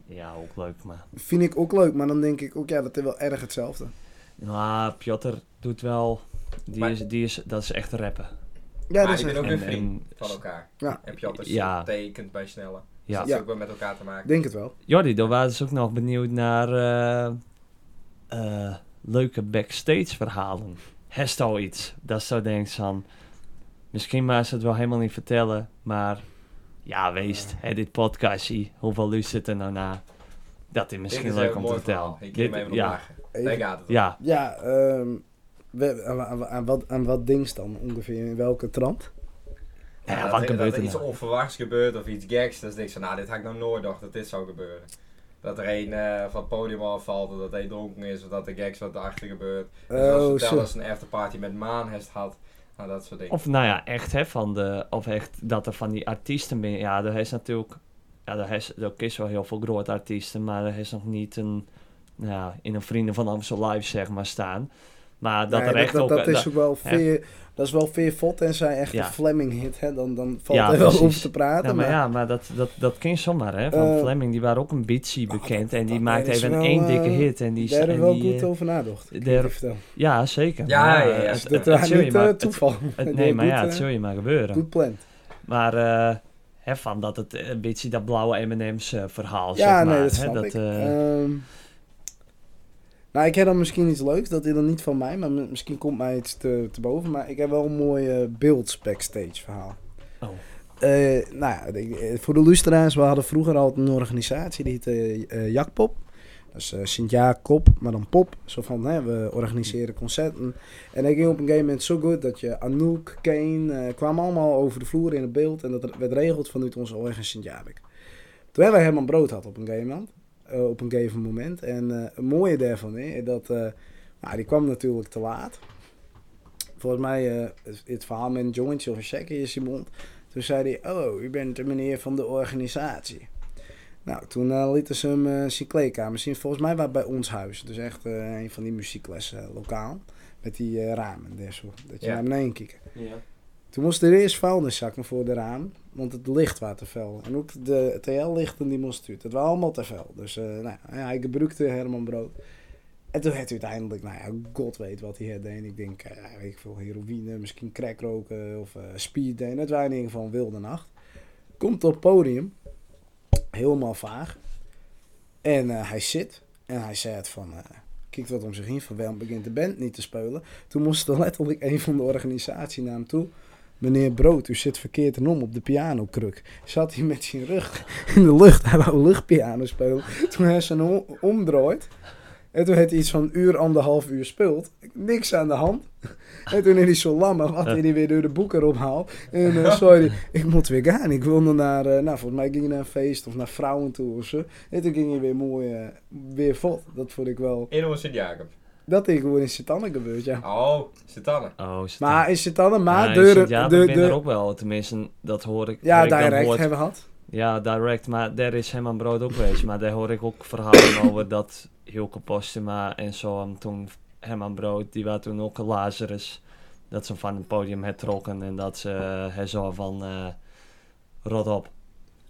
Ja, ook leuk, maar... Vind ik ook leuk. Maar dan denk ik ook... Ja, dat is wel erg hetzelfde. Nou, Piotr doet wel... Die Maar- is, die is, dat is echt rappen. Ja, maar dat is die echt- ben ook en- een vriend en- van elkaar. Ja. En Piotr Ja. tekent bij Snelle. Dus Ja. dat is Ja. ook wel met elkaar te maken. denk het wel. Jordi, dan waren ze ook nog benieuwd naar eh, eh, leuke backstage verhalen. Heeft al iets dat zo denkt van, misschien maar ze het wel helemaal niet vertellen, maar ja, wees hè, dit podcastje, hoeveel luistert er nou naar? Dat is misschien Dit is leuk een om te mooi vertellen. verhaal. Ik Dit- heb hem even ja, ja. Daar Even- gaat het om. ja, Ja, ehm, we, aan, aan- aan wat, aan wat dings dan ongeveer? In welke trant? Ja, dat- wat dat, gebeurt er iets nou? onverwachts gebeurt of iets geks. Dat ik denk van, nou, dit had ik nou nooit gedacht dat dit zou gebeuren. Dat er een eh, van het podium afvalt, of dat hij dronken is, of dat er geks wat erachter gebeurt. Dus als ze Oh, vertellen zo. dat ze een afterparty met Maan heeft gehad. Nou, dat soort dingen. Of nou ja, echt hè, van de, of echt dat er van die artiesten binnen, ja, er is natuurlijk, ja, er is, er is wel heel veel grote artiesten, maar er is nog niet een, nou ja, in een Vrienden van Amstel Live zeg maar staan. Maar dat Nee, er echt dat, ook... dat is dat- ook wel ja. veer, dat is wel veer vod en zij echt Ja. een Fleming hit, hè? Dan, dan valt Ja, er wel precies. over te praten. ja, maar maar ja, maar dat, dat, dat ken je zomaar hè, van Eh, Fleming, die waren ook een bitchy dat- bekend en die dat maakte is even wel, één eh, dikke hit en die... daar hebben we en wel die, goed eh, over nadocht. kan ik daar- je vertellen. Ja, zeker. Ja, maar, ja, eh, ja, het- dat Dat het- was het zul je niet maar- eh, het- toeval. het- Die Nee, maar ja, goed, het eh, zul je maar gebeuren. Goed plan. Maar eh, hè, van dat het eh, een beetje dat blauwe M&M's eh, verhaal, zeg Ja, maar. nee, dat hè, snap ik. eh, Ehm, nou, ik heb dan misschien iets leuks. Dat is dan niet van mij, maar mi- misschien komt mij iets te, te boven. Maar ik heb wel een mooi eh, beelds backstage verhaal. Oh. Eh, nou ja, ik- eh, voor de luisteraars, we hadden vroeger altijd een organisatie die heette eh, eh, Jakpop. Dat is eh, Sint-Jacob, maar dan pop. Zo van, hè, we organiseren concerten. En dat ging op een gegeven moment zo goed dat je Anouk, Kane, eh, kwamen allemaal over de vloer in het beeld. En dat werd regeld vanuit onze orgen Sint-Jabik. Terwijl wij Herman Brood had op een gegeven moment. eh, op een gegeven moment. En eh het mooie daarvan is dat... eh, nou, die kwam natuurlijk te laat. Volgens mij eh, is het verhaal met een jointje of een checkje in zijn mond. Toen zei hij, oh, u bent de meneer van de organisatie. Nou, toen eh, lieten ze hem eh zijn kleedkamer zien. Volgens mij was het bij ons huis. Dus echt eh, een van die muzieklessen eh, lokaal. Met die eh, ramen en zo. Dat je Ja. naar beneden kijkt. Toen moesten er eerst vuilniszakken voor de raam, want het licht was te fel. En ook de TL-lichten die moesten uit. Het was allemaal te fel. Dus eh, nou, ja, hij gebruikte Herman Brood. En toen had hij uiteindelijk, nou ja, god weet wat hij had. En ik denk, eh, ja, weet ik veel, heroïne, misschien crack roken of eh, speed. En het was in ieder geval een wilde nacht. Komt op het podium, helemaal vaag. En eh, hij zit en hij zei het van, eh kijkt wat om zich heen, van waarom begint de band niet te spelen. Toen moest er letterlijk een van de organisatie naar hem toe. Meneer Brood, u zit verkeerd en om op de pianokruk. Zat hij met zijn rug in de lucht. Hij wou luchtpiano spelen. Toen hij zijn om- omdraait. En toen had hij iets van een uur, anderhalf uur speelt. Niks aan de hand. En toen is hij zo lammer. Wat hij die weer door de boeken ophaalt. En eh, sorry, ik moet weer gaan. Ik wilde naar, eh, nou volgens mij ging hij naar een feest of naar vrouwen toe of zo. En toen ging hij weer mooi, eh, weer vol. Dat vond ik wel, In onze Sint-Jacob. dat ik gewoon in Sitannen gebeurd, ja. Oh, Sitannen. Oh, is het Ah, Maar in Sitannen, maar Ja, deuren- in Sint-Jaap, de, ik de, ben er ook wel, tenminste, dat hoor ik. ja, hoor ik dan direct hoort- hebben we gehad. Ja, direct, maar daar is hem aan brood ook geweest. Maar daar hoor ik ook verhalen over dat Hilke Postuma en zo. En toen hem aan brood, die waren toen ook een Lazarus. Dat ze van het podium hertrokken en dat ze hij zo van eh, rot op.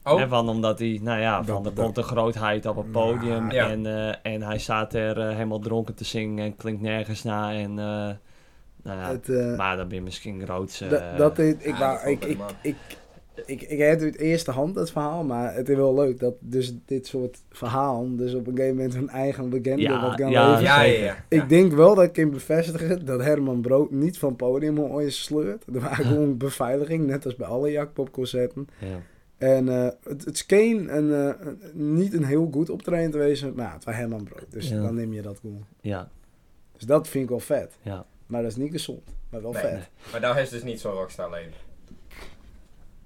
Oh, Hè, van, omdat hij, nou ja, Dat- van de dat- bonte grootheid op het Nou, podium. ja. En, eh, en hij staat er eh, helemaal dronken te zingen en klinkt nergens na. En, eh, nou ja, Het, eh, maar dan ben je misschien groots. eh, dat, dat is, ik, ah, wou- dat valt ik, wel ik, mee, ik, ik, ik heb het eerste hand dat verhaal, maar het is wel leuk dat dus dit soort verhaal dus op een gegeven moment hun eigen legende Ja, wat kan ja, ja, leven. ja, ja. zeker. ja. Ik denk wel dat ik kan bevestigen dat Herman Brood niet van podium ooit sleurt. Er waren gewoon beveiliging, net als bij alle jackpopconcerten. ja. En eh, het, het is geen een, eh, een- niet een heel goed optreden te wezen, maar ja, het was Herman Brood. Dus Ja. dan neem je dat gewoon. ja, Dus dat vind ik wel vet. ja. Maar dat is niet gezond, maar wel Nee, vet. nee. Maar daar is dus niet zo'n rockstar leven.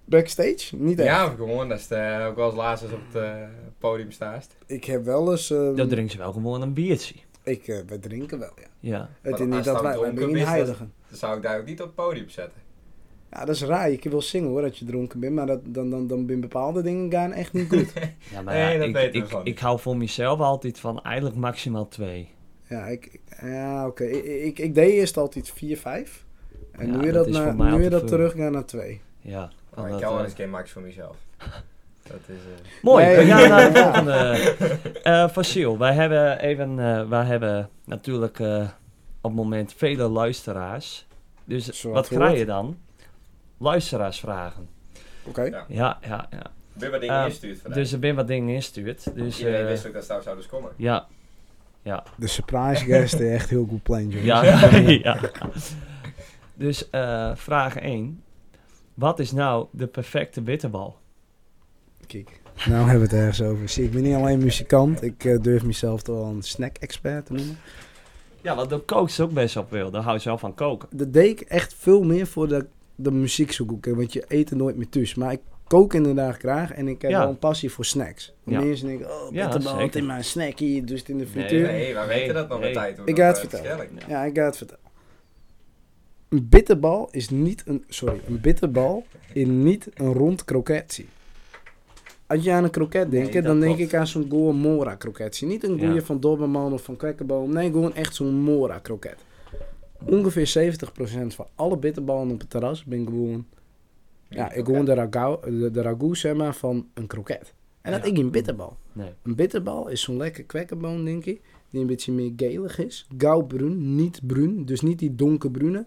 Backstage? Niet echt. Ja, gewoon. Dat is de, ook wel als laatste als op het eh, podium staat. Ik heb wel eens... ehm, Dan drinken ze wel gewoon een biertje. ik, eh, we drinken wel, ja. Ja. Het Maar is niet als dat dan wij, wij dronken zijn niet is, dat- heiligen. Dan zou ik daar ook niet op het podium zetten. Ja, dat is raar. Je kan wel zingen hoor, dat je dronken bent. Maar dat, dan, dan, dan ben bepaalde dingen gaan echt niet goed. ja, maar Nee, ja, dat ik, weten we ik, van. ik hou voor mezelf altijd van eigenlijk maximaal twee. ja, ik, ik- ja oké. Ik, ik, ik deed eerst altijd 4, 5. En Ja, nu je dat dat, is na- voor mij nu je altijd dat veel. teruggaan naar 2. Ja. Maar ik omdat, hou wel eh, eens geen max voor mezelf. Dat is... eh, Mooi, Nee, we gaan ja. naar de volgende. Eh, Faciel, wij hebben, even, eh, wij hebben natuurlijk eh, op het moment vele luisteraars. Dus Zo wat had krijg je dan? Luisteraarsvragen. Oké. Ja. Ja, ja, ja. Ben wat dingen Eh, instuurt vandaag. Dus er ben wat dingen instuurd. Dus, Iedereen eh, wist ook dat ze daar zouden komen. ja, De surprise guest is echt heel goed plan, jongens. Nou, ja, ja. Dus eh, vraag 1. Wat is nou de perfecte wittebal? Kijk, nou hebben we het ergens over. Zie, ik ben niet alleen muzikant. Ik eh, durf mezelf toch wel een snack-expert te noemen. Ja, want daar kookt ze ook best op wil. Daar hou ze wel van koken. Dat deed ik echt veel meer voor de, de muziek zoeken. Want je eet er nooit meer thuis. Maar ik kook inderdaad graag. En ik heb Ja. wel een passie voor snacks. Want Ja. Mensen denken, oh, Ja, bitterbal, zeker. het in mijn snackie. Dus het in de frituur. Nee, Nee, wij nee, weten dat nog nee. een tijd. hoor. Ik Dat, ga het eh, vertellen. verschil ik. Ja, ik ga het vertellen. Een bitterbal is niet een... Sorry, een bitterbal is niet een rond kroketje. Als je aan een kroket denkt, Nee, dat dan denk klopt. ik aan zo'n Goa Mora kroketje. Niet een Ja. goeie van Dobberman of van Kwekkenboom. Nee, gewoon echt zo'n Mora kroket. Ongeveer 70% van alle bitterballen op het terras ben ik gewoon... Ja, ik gewoon de ragout, de, de ragout, zeg maar, van een kroket. En dat Ja. ik een bitterbal. Nee. Een bitterbal is zo'n lekker kwekkenboon, denk ik. Die een beetje meer gelig is. Gauwbruin, niet bruin. Dus niet die donkerbruine.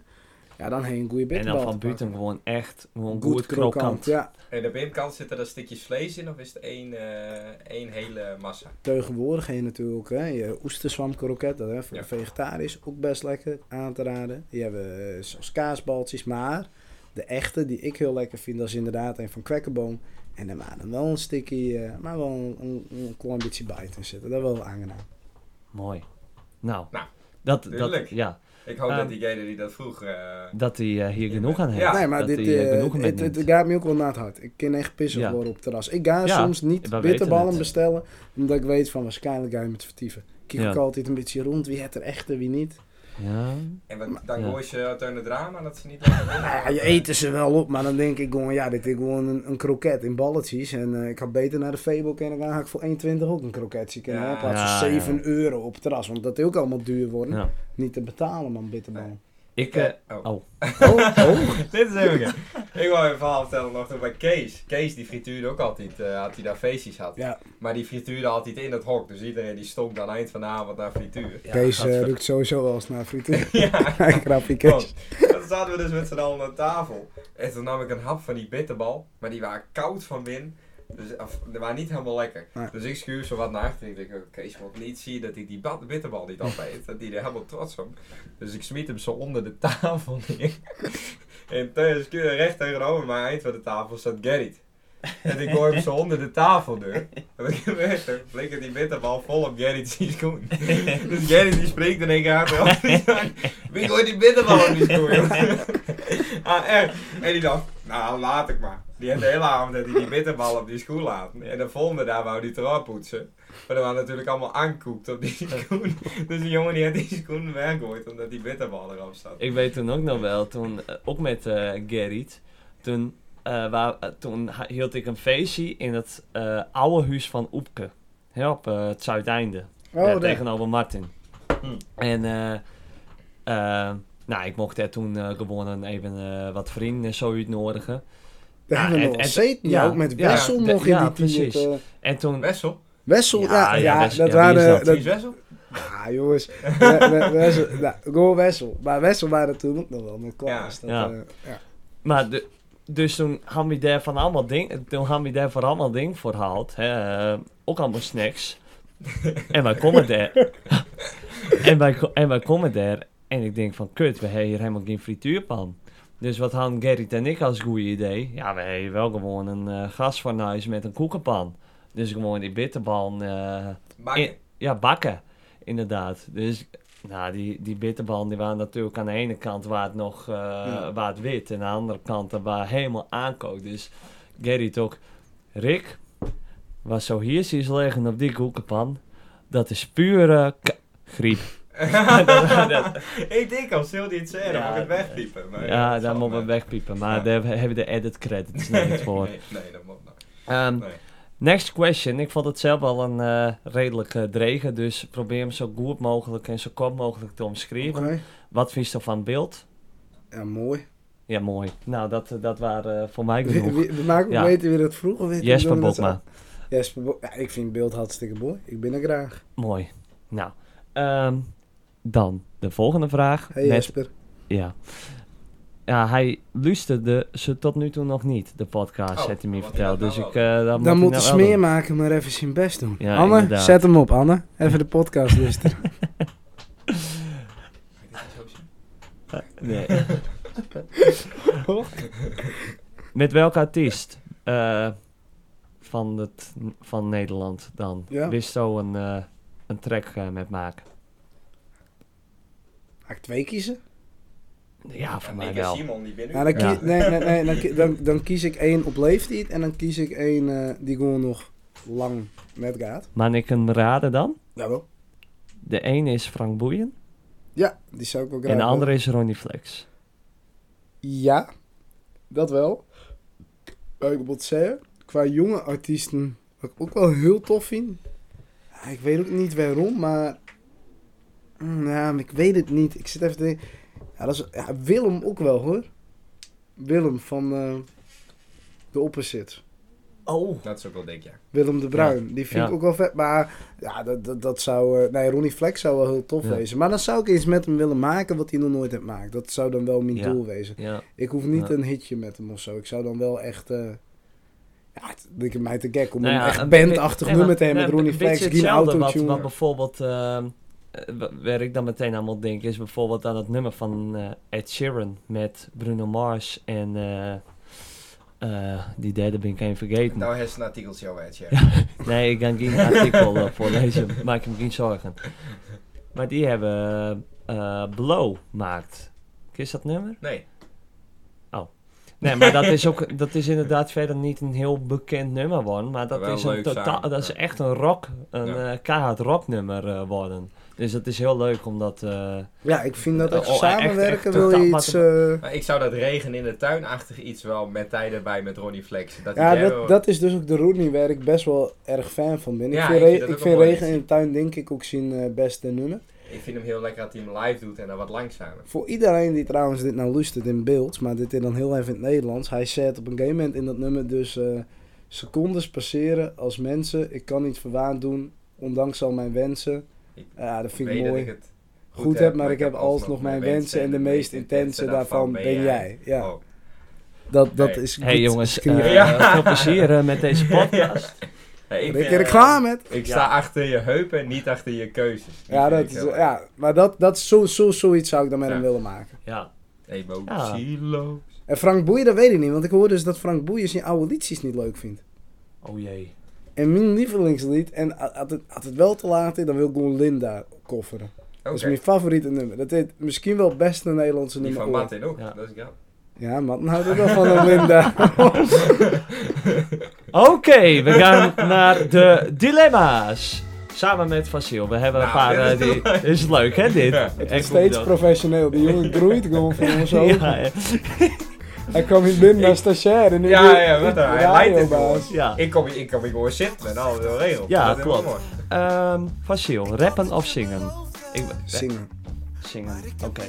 Ja, dan heb je een goede En bitterbal. dan van te pakken. buiten gewoon echt gewoon goed krokant. Ja, En aan de binnenkant zitten er stukjes vlees in of is het één, eh, één hele massa? tegenwoordig heb je natuurlijk hè, je oesterzwamkroket. Dat hè, voor Ja. vegetarisch ook best lekker aan te raden. Die hebben eh, zoals kaasbaltjes. Maar de echte die ik heel lekker vind, dat is inderdaad een van kwekkenboon. En daar maar dan wel een sticky, eh, maar wel een, een, een klein beetje bite in zitten. Dat is wel aangenaam. Mooi. Nou, Nou, dat, dat, duidelijk. ja, Ik hoop Ehm, dat diegene die dat vroeg... eh, dat hij eh, hier genoeg aan heeft. Ja. nee, maar dat dit, hij, eh, eh, genoegen het, met het neemt. gaat me ook wel naar het hart. Ik kan echt pissig Ja. worden op het terras. Ik ga Ja, soms we niet weten bitterballen het. bestellen, omdat ik weet van waarschijnlijk ga je me te vertieven. Ik Kijk Ja. ook altijd een beetje rond, wie het er echte, wie niet. Ja. en wat, dan Ja. hoor je ze uit hun drama dat ze niet... lekker binnen- Nou ja, je eten ze wel op, maar dan denk ik gewoon, ja, dit is gewoon een, een kroket in balletjes. En eh, ik had beter naar de Fable kunnen gaan, had ik voor 1,20 ook een kroketje kunnen Ja. hebben. In plaats Ja, van ja. 7 euro op het terras, want dat is ook allemaal duur worden. Ja. Niet te betalen, man, bitterballen. Ik, eh, oh. oh. Oh, oh. Dit is even Ik wou een verhaal vertellen nog toen bij Kees. Kees die frituurde ook altijd, eh, had hij daar feestjes had. Ja, Maar die frituurde altijd in het hok. Dus iedereen die stonk aan het eind van de avond naar frituur. Kees eh, ruikt sowieso wel eens naar frieten. Ja, Oh. Grapje, Kees. Oh, want dan zaten we dus met z'n allen aan tafel. En toen nam ik een hap van die bitterbal. Maar die waren koud van binnen. Dus of, die waren niet helemaal lekker. Nee. Dus ik schuur zo wat naar achter. Ik denk, oh, Kees moet niet zien dat ik die bat- bitterbal niet opeet. dat die er helemaal trots op. Dus ik smiet hem zo onder de tafel neer. en thuis recht tegenover mij, eind van de tafel, zat Gerrit. En ik hoor hem zo onder de tafeldeur. En ik werd er flikkert die bitterbal vol op Gerrit zijn schoen. Dus Gerrit die spreekt in één keer hard. en die zegt, Wie gooit die bitterbal in die schoen? joh?" ah, echt. En die dacht, nou laat ik maar. Die had de hele avond dat hij die bitterbal op die schoen laten. En de volgende daar wou die erop poetsen. Maar er waren natuurlijk allemaal aankoekt op die schoen. Dus die jongen die had die schoen weggooid omdat die bitterbal erop zat. Ik weet toen ook nog wel, toen, eh, ook met eh Gerrit, toen, eh, wa- eh, toen ha- hield ik een feestje in het eh, oude huis van Oepke. Hè, op eh, het Zuideinde, Oh, eh, daar. tegenover Martin. Hm. En eh, eh, Nou, ik mocht daar toen eh, gewoon even eh, wat vrienden en zo uitnodigen. Daar Ja, hebben we en- nog en- Zeten, ja, ook met ja, Wessel de- nog in ja, die team. precies. Het, eh, En toen... Wessel? Wessel, Ja, ja, ja, ja, Wessel, dat ja, wie is waren... dat? dat- Precies Wessel? Ah, jongens. We- we- Wessel, nou, Goal Wessel. Maar Wessel waren toen ook nog wel met Klaas. Ja. Dat, Ja. eh, ja. Maar de- dus toen hadden we daar van allemaal ding, toen hadden we daar van allemaal ding voor gehaald. Hè, eh, ook allemaal snacks. en wij komen daar. en, wij, ko- en wij komen daar. En ik denk van, kut, we hebben hier helemaal geen frituurpan. Dus wat hadden Gerrit en ik als goede idee? Ja, we hebben wel gewoon een eh gasfornuis met een koekenpan. Dus gewoon die bitterban... eh, Maar in- ja, bakken. Inderdaad. Dus nou, die, die bitterballen die waren natuurlijk aan de ene kant waar het nog eh, waar het wit. En aan de andere kant dat waar helemaal aankookt. Dus Gerrit ook. Rick, wat zo hier is liggen op die koekenpan, dat is pure k- griep. ik denk al, zult hij het zeggen? Ja, mag ik het nee. wegpiepen? Maar ja, daar dat zal moeten we wel. wegpiepen. Maar Ja. daar hebben we de edit credits niet voor. Nee, nee, dat moet nog. Ehm, Nee. Next question. Ik vond het zelf wel een eh, redelijk eh, drege, dus probeer hem zo goed mogelijk en zo kort mogelijk te omschrijven. Oké. Wat vind je van beeld? Ja, mooi. Ja, mooi. Nou, dat, eh, dat waren eh, voor mij We, genoeg. we, we maken Ja. we weten weer het vroeger. weet je, Jesper we doen het Bokma. zo. Jesper Bokma. Ja, ik vind het beeld hartstikke mooi. Ik ben er graag. Mooi. Nou, ehm, dan de volgende vraag. Hey met- Jesper. ja. ja, hij luisterde ze tot nu toe nog niet, de podcast, Oh, heeft hij me dan moet hij verteld. dat Dus nou ik... eh dat Dan moet hij de nou wel doen. smeermaker maar even zijn best doen. Ja, Anne, inderdaad. zet hem op, Anne. Even de podcast luisteren. Nee. Met welke artiest eh, van, het, van Nederland dan? Ja. Wist zo een, eh, een track eh, met maken? Ga ik twee kiezen? Ja, voor mij Ik en wel. Simon, die binnen. Nou, dan, Ja. kie- nee, nee, nee, dan, ki- dan, dan kies ik één op leeftijd en dan kies ik één eh, die gewoon nog lang net gaat. Maar ik hem raden dan? Jawel. De ene is Frank Boeien Ja, die zou ik wel graag en de willen. andere is Ronnie Flex. Ja, dat wel. Maar ik moet zeggen, qua jonge artiesten, wat ik ook wel heel tof vind. Ja, Ik weet ook niet waarom, maar... Mm, Ja, maar ik weet het niet. Ik zit even te denken. Ja, dat is... ja, Willem ook wel, hoor. Willem van eh, de opposite. Oh. Dat is ook wel dik, ja. Willem de Bruin. Die vind Ja. ik ook wel vet. Maar ja, dat, dat, dat zou... eh, nee, Ronnie Flex zou wel heel tof Ja. wezen. Maar dan zou ik eens met hem willen maken wat hij nog nooit heeft gemaakt. Dat zou dan wel mijn Ja. doel wezen. Ja, Ik hoef niet Ja. een hitje met hem of zo. Ik zou dan wel echt. eh ja, het lijkt mij te gek om Nou ja, een echt een bandachtig beetje- nummer te nee, hebben met maar Ronnie een beetje Flex, geen hetzelfde wat, wat autotune. bijvoorbeeld, ehm, eh, wa- waar ik dan meteen aan moet denken, is bijvoorbeeld aan het nummer van eh, Ed Sheeran met Bruno Mars en eh, eh, die derde ben ik even vergeten. Nou, hij is een artikeltje over het, ja. Nee, ik kan geen artikel eh, voorlezen, maak je me geen zorgen. Maar die hebben eh, eh, Blow gemaakt. Is dat nummer? Nee. Nee, maar dat is, ook, dat is inderdaad verder niet een heel bekend nummer worden. Maar dat Wel is, een leuk totaal, samen, dat is ja. echt een rock, een Ja. eh, keihard rocknummer eh, worden. Dus dat is heel leuk omdat... eh Ja, ik vind dat echt Oh, echt- samenwerken echt wil je totaal- iets. eh, Maar ik zou dat regen in de tuinachtig iets wel met tijden erbij met Ronnie Flex. Dat ja, hij daar dat, wel- dat is dus ook de Ronnie waar ik best wel erg fan van ben. Ik Ja, vind, ik re- vind dat ik ook vind wel mooi. Regen in de Tuin, denk ik, ook zijn eh, beste nummer. Ik vind hem heel lekker dat hij hem live doet en dan wat langzamer. Voor iedereen die trouwens dit nou luistert in beeld, maar dit is dan heel even in het Nederlands. Hij zet op een gegeven moment in dat nummer dus eh, secondes passeren als mensen. Ik kan niet verwaand doen, ondanks al mijn wensen. Ik Ja, dat vind ik weet dat mooi. ik het goed, heb, maar ik heb alsnog mijn wensen en de meest intense daarvan ben jij. Ja, Oh. dat, dat Hey. is hey goed jongens, geschreven. eh, Ja. veel plezier eh, met deze podcast. Hey, ik vind- eh, ben er klaar met. Ik sta achter je heupen en niet achter je keuzes. Die Ja, vind dat ik is, heel erg. ja, maar dat, dat is zo, zo, zoiets zou ik dan met Ja. hem willen maken. Ja. Emotieloos. En Frank Boeien, dat weet ik niet, want ik hoor dus dat Frank Boeien zijn oude liedjes niet leuk vindt. Oh jee. En mijn lievelingslied, en a- als het, als het wel te laat is, dan wil ik gewoon Linda kofferen. Dat is Oké. mijn favoriete nummer. Dat is misschien wel het beste Nederlandse Die nummer van ooit. Martin ook. Ja. Dat is grappig. Ja, Matten houdt ook wel van een Linda. Oké, we gaan naar de dilemma's. Samen met Fasil. We hebben een Nou, paar... eh, dit is die, is het leuk hè dit? Ja. Ik Het moet is steeds dat- professioneel. Die jongen groeit gewoon van ons over. Ja, eh, Hij kwam hier binnen naar stagiair en nu Ja, weer- ja, wat dan? Hij radiobaas. leidt het gewoon. ja. Ik kom, hier- ik kom hier gewoon zitten met al de regels. Ja, Dat is wel klopt. mooi. Ehm, Fasil, rappen of zingen? Ik, Zingen. eh, zingen. Oké.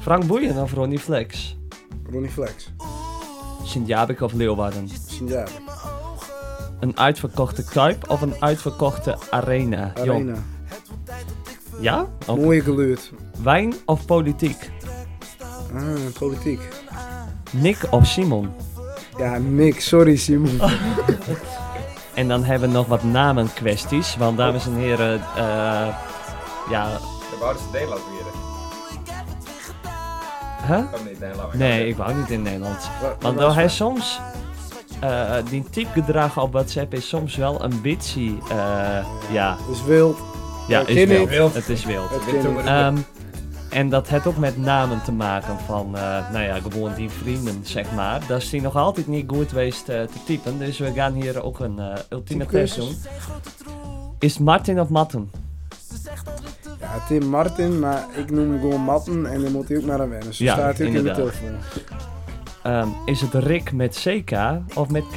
Frank Boeien of Ronnie Flex? Ronnie Flex. Sint-Jabik of Leeuwarden? Sinjara. Een uitverkochte Kuip of een uitverkochte Arena? Jong. Arena. Ja? Oké. Mooie geluid. Wijn of politiek? Ah, politiek. Nick of Simon? Ja, niks. Sorry, Simon. En dan hebben we nog wat namenkwesties. Want dames en heren, eh, ja... De wouden ze Nederland weer. Huh? Oh nee, Nederland. Nee, ik wou niet in Nederland. Wa- Want wat nou, was hij het? soms... eh, die typgedrag op WhatsApp is soms wel een bitchy. eh, ja, Het is wild. ja Ik is ken wild. het. Wild. Het is wild. Het Dit ken doen ik. we Ehm, en dat heeft ook met namen te maken van, eh, nou ja, gewoon die vrienden, zeg maar. Dat is die nog altijd niet goed geweest eh, te typen. Dus we gaan hier ook een eh, ultieme test doen. Typecursus. Is Martin of Matten? Ja, Tim Martin, maar ik noem hem gewoon Matten en dan moet hij ook naar hem wennen. Zo Ja, staat hij ook in de inderdaad. telefoon. Ehm, is het Rick met CK of met K?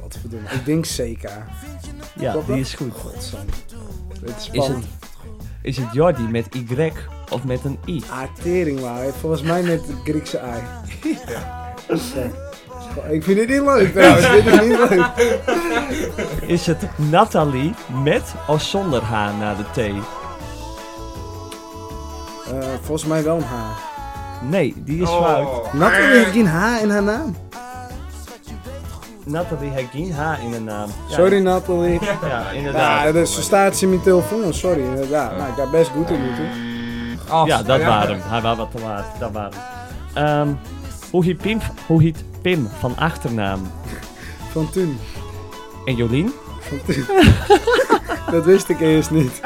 Godverdomme. Ik denk CK. Ja, Klopt dat? die is goed. Godzang. Het is Is spannend. het, is het Jordi met Y of met een I? Artering waar. Volgens mij met het Griekse ei. Ja. Ik vind dit niet leuk nou, trouwens. dit is niet leuk. Is het Nathalie met of zonder H na de T? Eh, volgens mij wel een haar. Nee, die Oh. is fout. Nathalie heeft geen haar in haar naam. Nathalie heeft geen H in de naam. Ja, Sorry Nathalie. Ja, inderdaad. Ja, dus ze staat ze in mijn telefoon. Sorry, inderdaad. Nou, ik ga best goed in moeten. Oh, Ja, dat waren hem. Hij was wat te laat. Dat waren hem. Ehm, hoe, heet Pim, hoe heet Pim van achternaam? Van toen. En Jolien? Van toen. Dat wist ik eerst niet.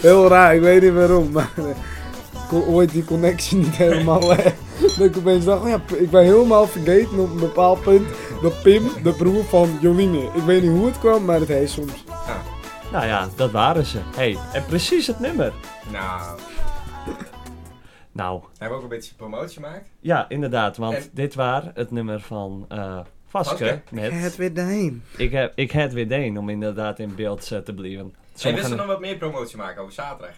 Heel raar, ik weet niet waarom. Maar eh, ik kon ooit die connectie niet helemaal. eh, Dat ik opeens dacht, oh ja, ik ben helemaal vergeten op een bepaald punt dat Pim de broer van Jolien is. Ik weet niet hoe het kwam, maar dat heet soms. Nou ja, dat waren ze. hey, en precies het nummer. Nou, Nou, hebben we ook een beetje promotie gemaakt? ja, inderdaad. Want En- dit was het nummer van eh Vaske. Vaske. Met, weer daarheen. ik, heb, ik had weer deen om inderdaad in beeld eh, te blijven. Hey, wist Sommigen- er nog wat meer promotie maken over zaterdag?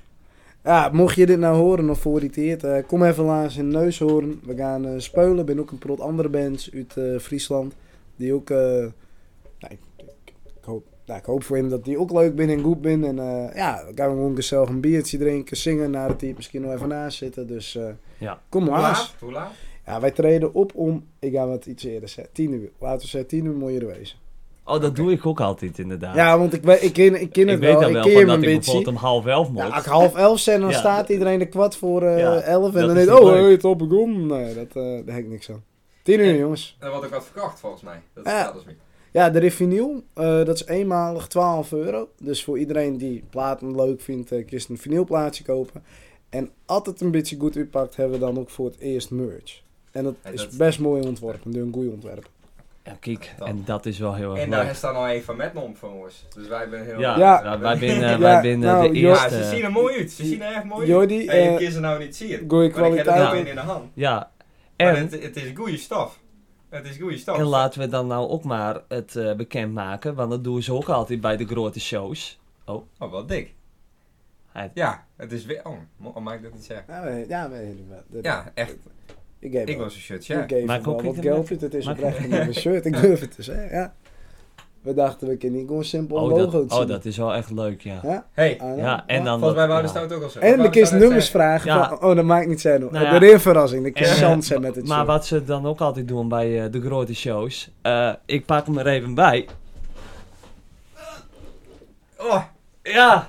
Ja, mocht je dit nou horen of voor dit eerst, eh, kom even langs in Neushoorn. We gaan eh, speulen. Ik ben ook een prot andere bands uit eh, Friesland. Die ook, eh, nou, ik, ik- ik hoop, nou, ik hoop voor hem dat die ook leuk binnen en goed binnen. En eh, ja, we gaan gewoon gezellig een biertje drinken, zingen naar het team. Misschien nog even naast zitten. Dus eh, Ja. kom Hoe maar langs. laat? Hoe laat? Ja, wij treden op om, ik ga wat iets eerder zeggen, 10 uur. Laten we zeggen 10 uur moet je er wezen. Oh, dat doe ik ook altijd inderdaad. Ja, want ik, we- ik, ken, ik ken ik het weet wel. dan ik wel ken gewoon hem dat een ik beetje. bijvoorbeeld om half elf moet. Ja, Nou, als ik half elf zijn, dan Ja. staat iedereen de kwart voor eh, Ja, elf. En dat dan is heet, niet oh, leuk. hey, top, ik om. Nee, dat, eh, daar heb ik niks aan. Tien uur, Ja. jongens. Er wordt ook wat verkocht volgens mij. Dat Ja. is dus niet. Ja, de Revinyl, eh dat is eenmalig 12 euro. Dus voor iedereen die platen leuk vindt, eh kun je een vinylplaatje kopen. En altijd een beetje goed uitpakt, hebben we dan ook voor het eerst merch. En dat Ja, is dat- best mooi ontworpen, door een goeie ontwerp. Ja, kijk, en dat is wel heel erg En leuk. daar is dan al een van Metnom van ons. Dus wij zijn heel... Ja, Ja. nou, wij eh, binnen, Ja, wij binnen nou, de Jo- Ja, eerste... ze zien er mooi uit. Ze zien er echt mooi uit. Jordi, Hey, ik eh kun ze nou niet zien. goeie Maar ik heb het nou kwaliteit. in in de hand. Ja, Maar en, het, het is goede stof. Het is goede stof. en laten we dan nou ook maar het eh, bekendmaken, want dat doen ze ook altijd bij de grote shows. Oh, wel dik. Hij- Ja, het is weer... Oh, mo- oh, mag ik dat niet zeggen? Ja, we- Ja, we hebben wel. Dat- Ja, echt. Ik heb Ik wel. was een shirtje. Ik geef Maar hem kook wel ik wat hem geld lekker? uit. Het is Maar- oprecht een nieuwe shirt. Ik durf het te zeggen, ja. We dachten, we kunnen niet gewoon simpel een Oh logo dat, zien. oh, dat is wel echt leuk, ja. Ja, Hey, Ah, Ja, en dan... volgens mij wouden ze ja. het ook al zo. En de Wouden kist ze dat nummers zeggen? vragen. Ja. van, oh, dat maakt niet zijn. hoor. Nou ja. De reverrassing. De En, kist eh, chance met het Maar shirt. wat ze dan ook altijd doen bij eh, de grote shows, eh, ik pak hem er even bij. Oh, Ja,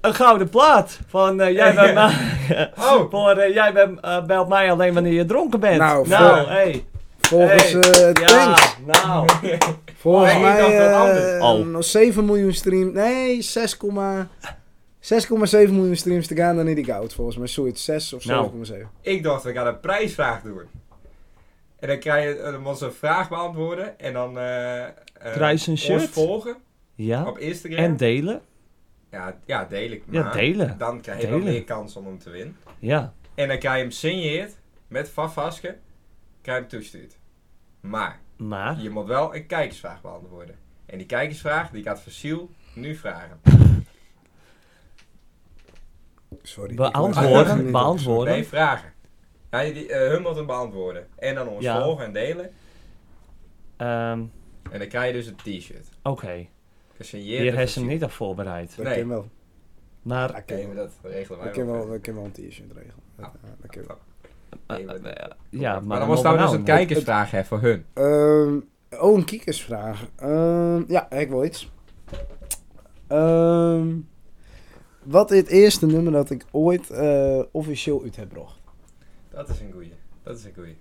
een gouden plaat van eh, jij bent mij... Oh. Voor, eh, jij bent, eh, belt mij alleen wanneer je dronken bent. Nou, voor- hey. Volgens Hey. eh ja, Tanks. nou. Volgens Nee, dat mij is wat eh anders. Oh. nog 7 miljoen streams. Nee, 6,7 miljoen streams te gaan. Dan is die goud volgens mij. Zoiets. 6 of 7,7. Nou. ik dacht, we gaan een prijsvraag doen. En dan krijg je, dan moet ze een vraag beantwoorden. En dan... eh, eh, Krijg je een Ons shirt? volgen Ja, op Instagram. en delen. ja, ja, delen. Ja, maar delen. Dan krijg je wel Delen. meer kans om hem te winnen. Ja. En dan krijg je hem signeerd met Van Vaske. Krijg je hem toestuurd. Maar Maar, je moet wel een kijkersvraag beantwoorden. En die kijkersvraag die gaat Fossiel nu vragen. Sorry. ik Beantwoorden, Nee, beantwoorden. vragen. Hij die, eh, Hummelton beantwoorden. En dan ons Ja. volgen en delen. Ehm, En dan krijg je dus een t-shirt. Oké, Gesigneerd. hier en heeft ze hem versierd. niet aan voorbereid. Dat Nee. ken wel. Maar Dat Oké, ken maar wel. dat regelen wij Dat ken wel. wel. Dat ken wel een t-shirt regelen. Dat, Ah, eh, dat ken wel. eh, Nee, maar- eh, ja, maar, Maar wat dan was trouwens nou? een kijkersvraag hè, voor hun. Ehm, oh, een kiekersvraag. Ehm, ja, ik wil iets. Ehm, wat is het eerste nummer dat ik ooit eh, officieel uit heb gebracht? Dat is een goeie. Dat is een goeie.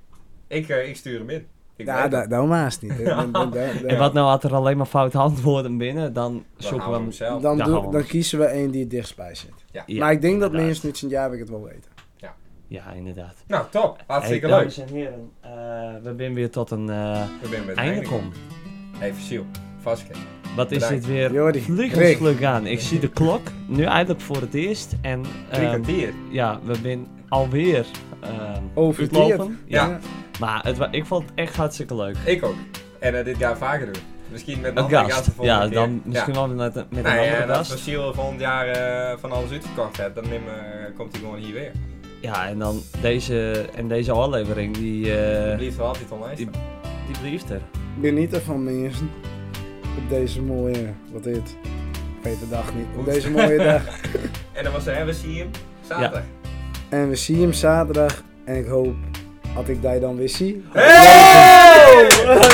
Ik, eh, ik stuur hem in. Ik Ja, weet da, het. daarom haast nou, niet. Dan- dan- dan- dan- En wat nou had er alleen maar fout antwoorden binnen, dan eh. Dan houden zoeken we we hem hem. zelf. dan, Ja, doe- gewoon. dan kiezen we één die het dichtstbij zit. Ja, maar ik denk dat inderdaad. mensen niet zijn jaar ik het wel weten. Ja, inderdaad. Nou, top. Hartstikke Hey, leuk. dames en heren, eh, we zijn weer tot een eh We zijn met einde Henk. gekomen. Hey, Versiel. Vastkijk. Wat is Bedankt. dit weer? Jordi, Rick, Vliegensvlug aan. Ik zie de klok nu eindelijk voor het eerst. En Drie ehm, kwartier. ja, we zijn alweer ehm Overteerd. uitlopen. Ja. ja. Maar het, wa- ik vond het echt hartstikke leuk. Ik ook. En eh, dit gaan we vaker doen. Misschien met een Een andere gast. gast de volgende Ja, keer. dan misschien wel met, met een Nou ja, andere en als gast. Basiel volgend jaar eh, van alles uitverkocht hebt, dan neem, eh, komt hij gewoon hier weer. Ja, en dan deze, en deze aflevering, die, eh Blijft wel altijd online staan. die blijft er. Geniet ervan mensen. Op deze mooie, wat is het? Ik weet de dag niet. Op deze mooie dag. En dan was er, hè, we zien hem zaterdag. En we zien hem zaterdag. En ik hoop, dat ik die dan weer zie. Hey!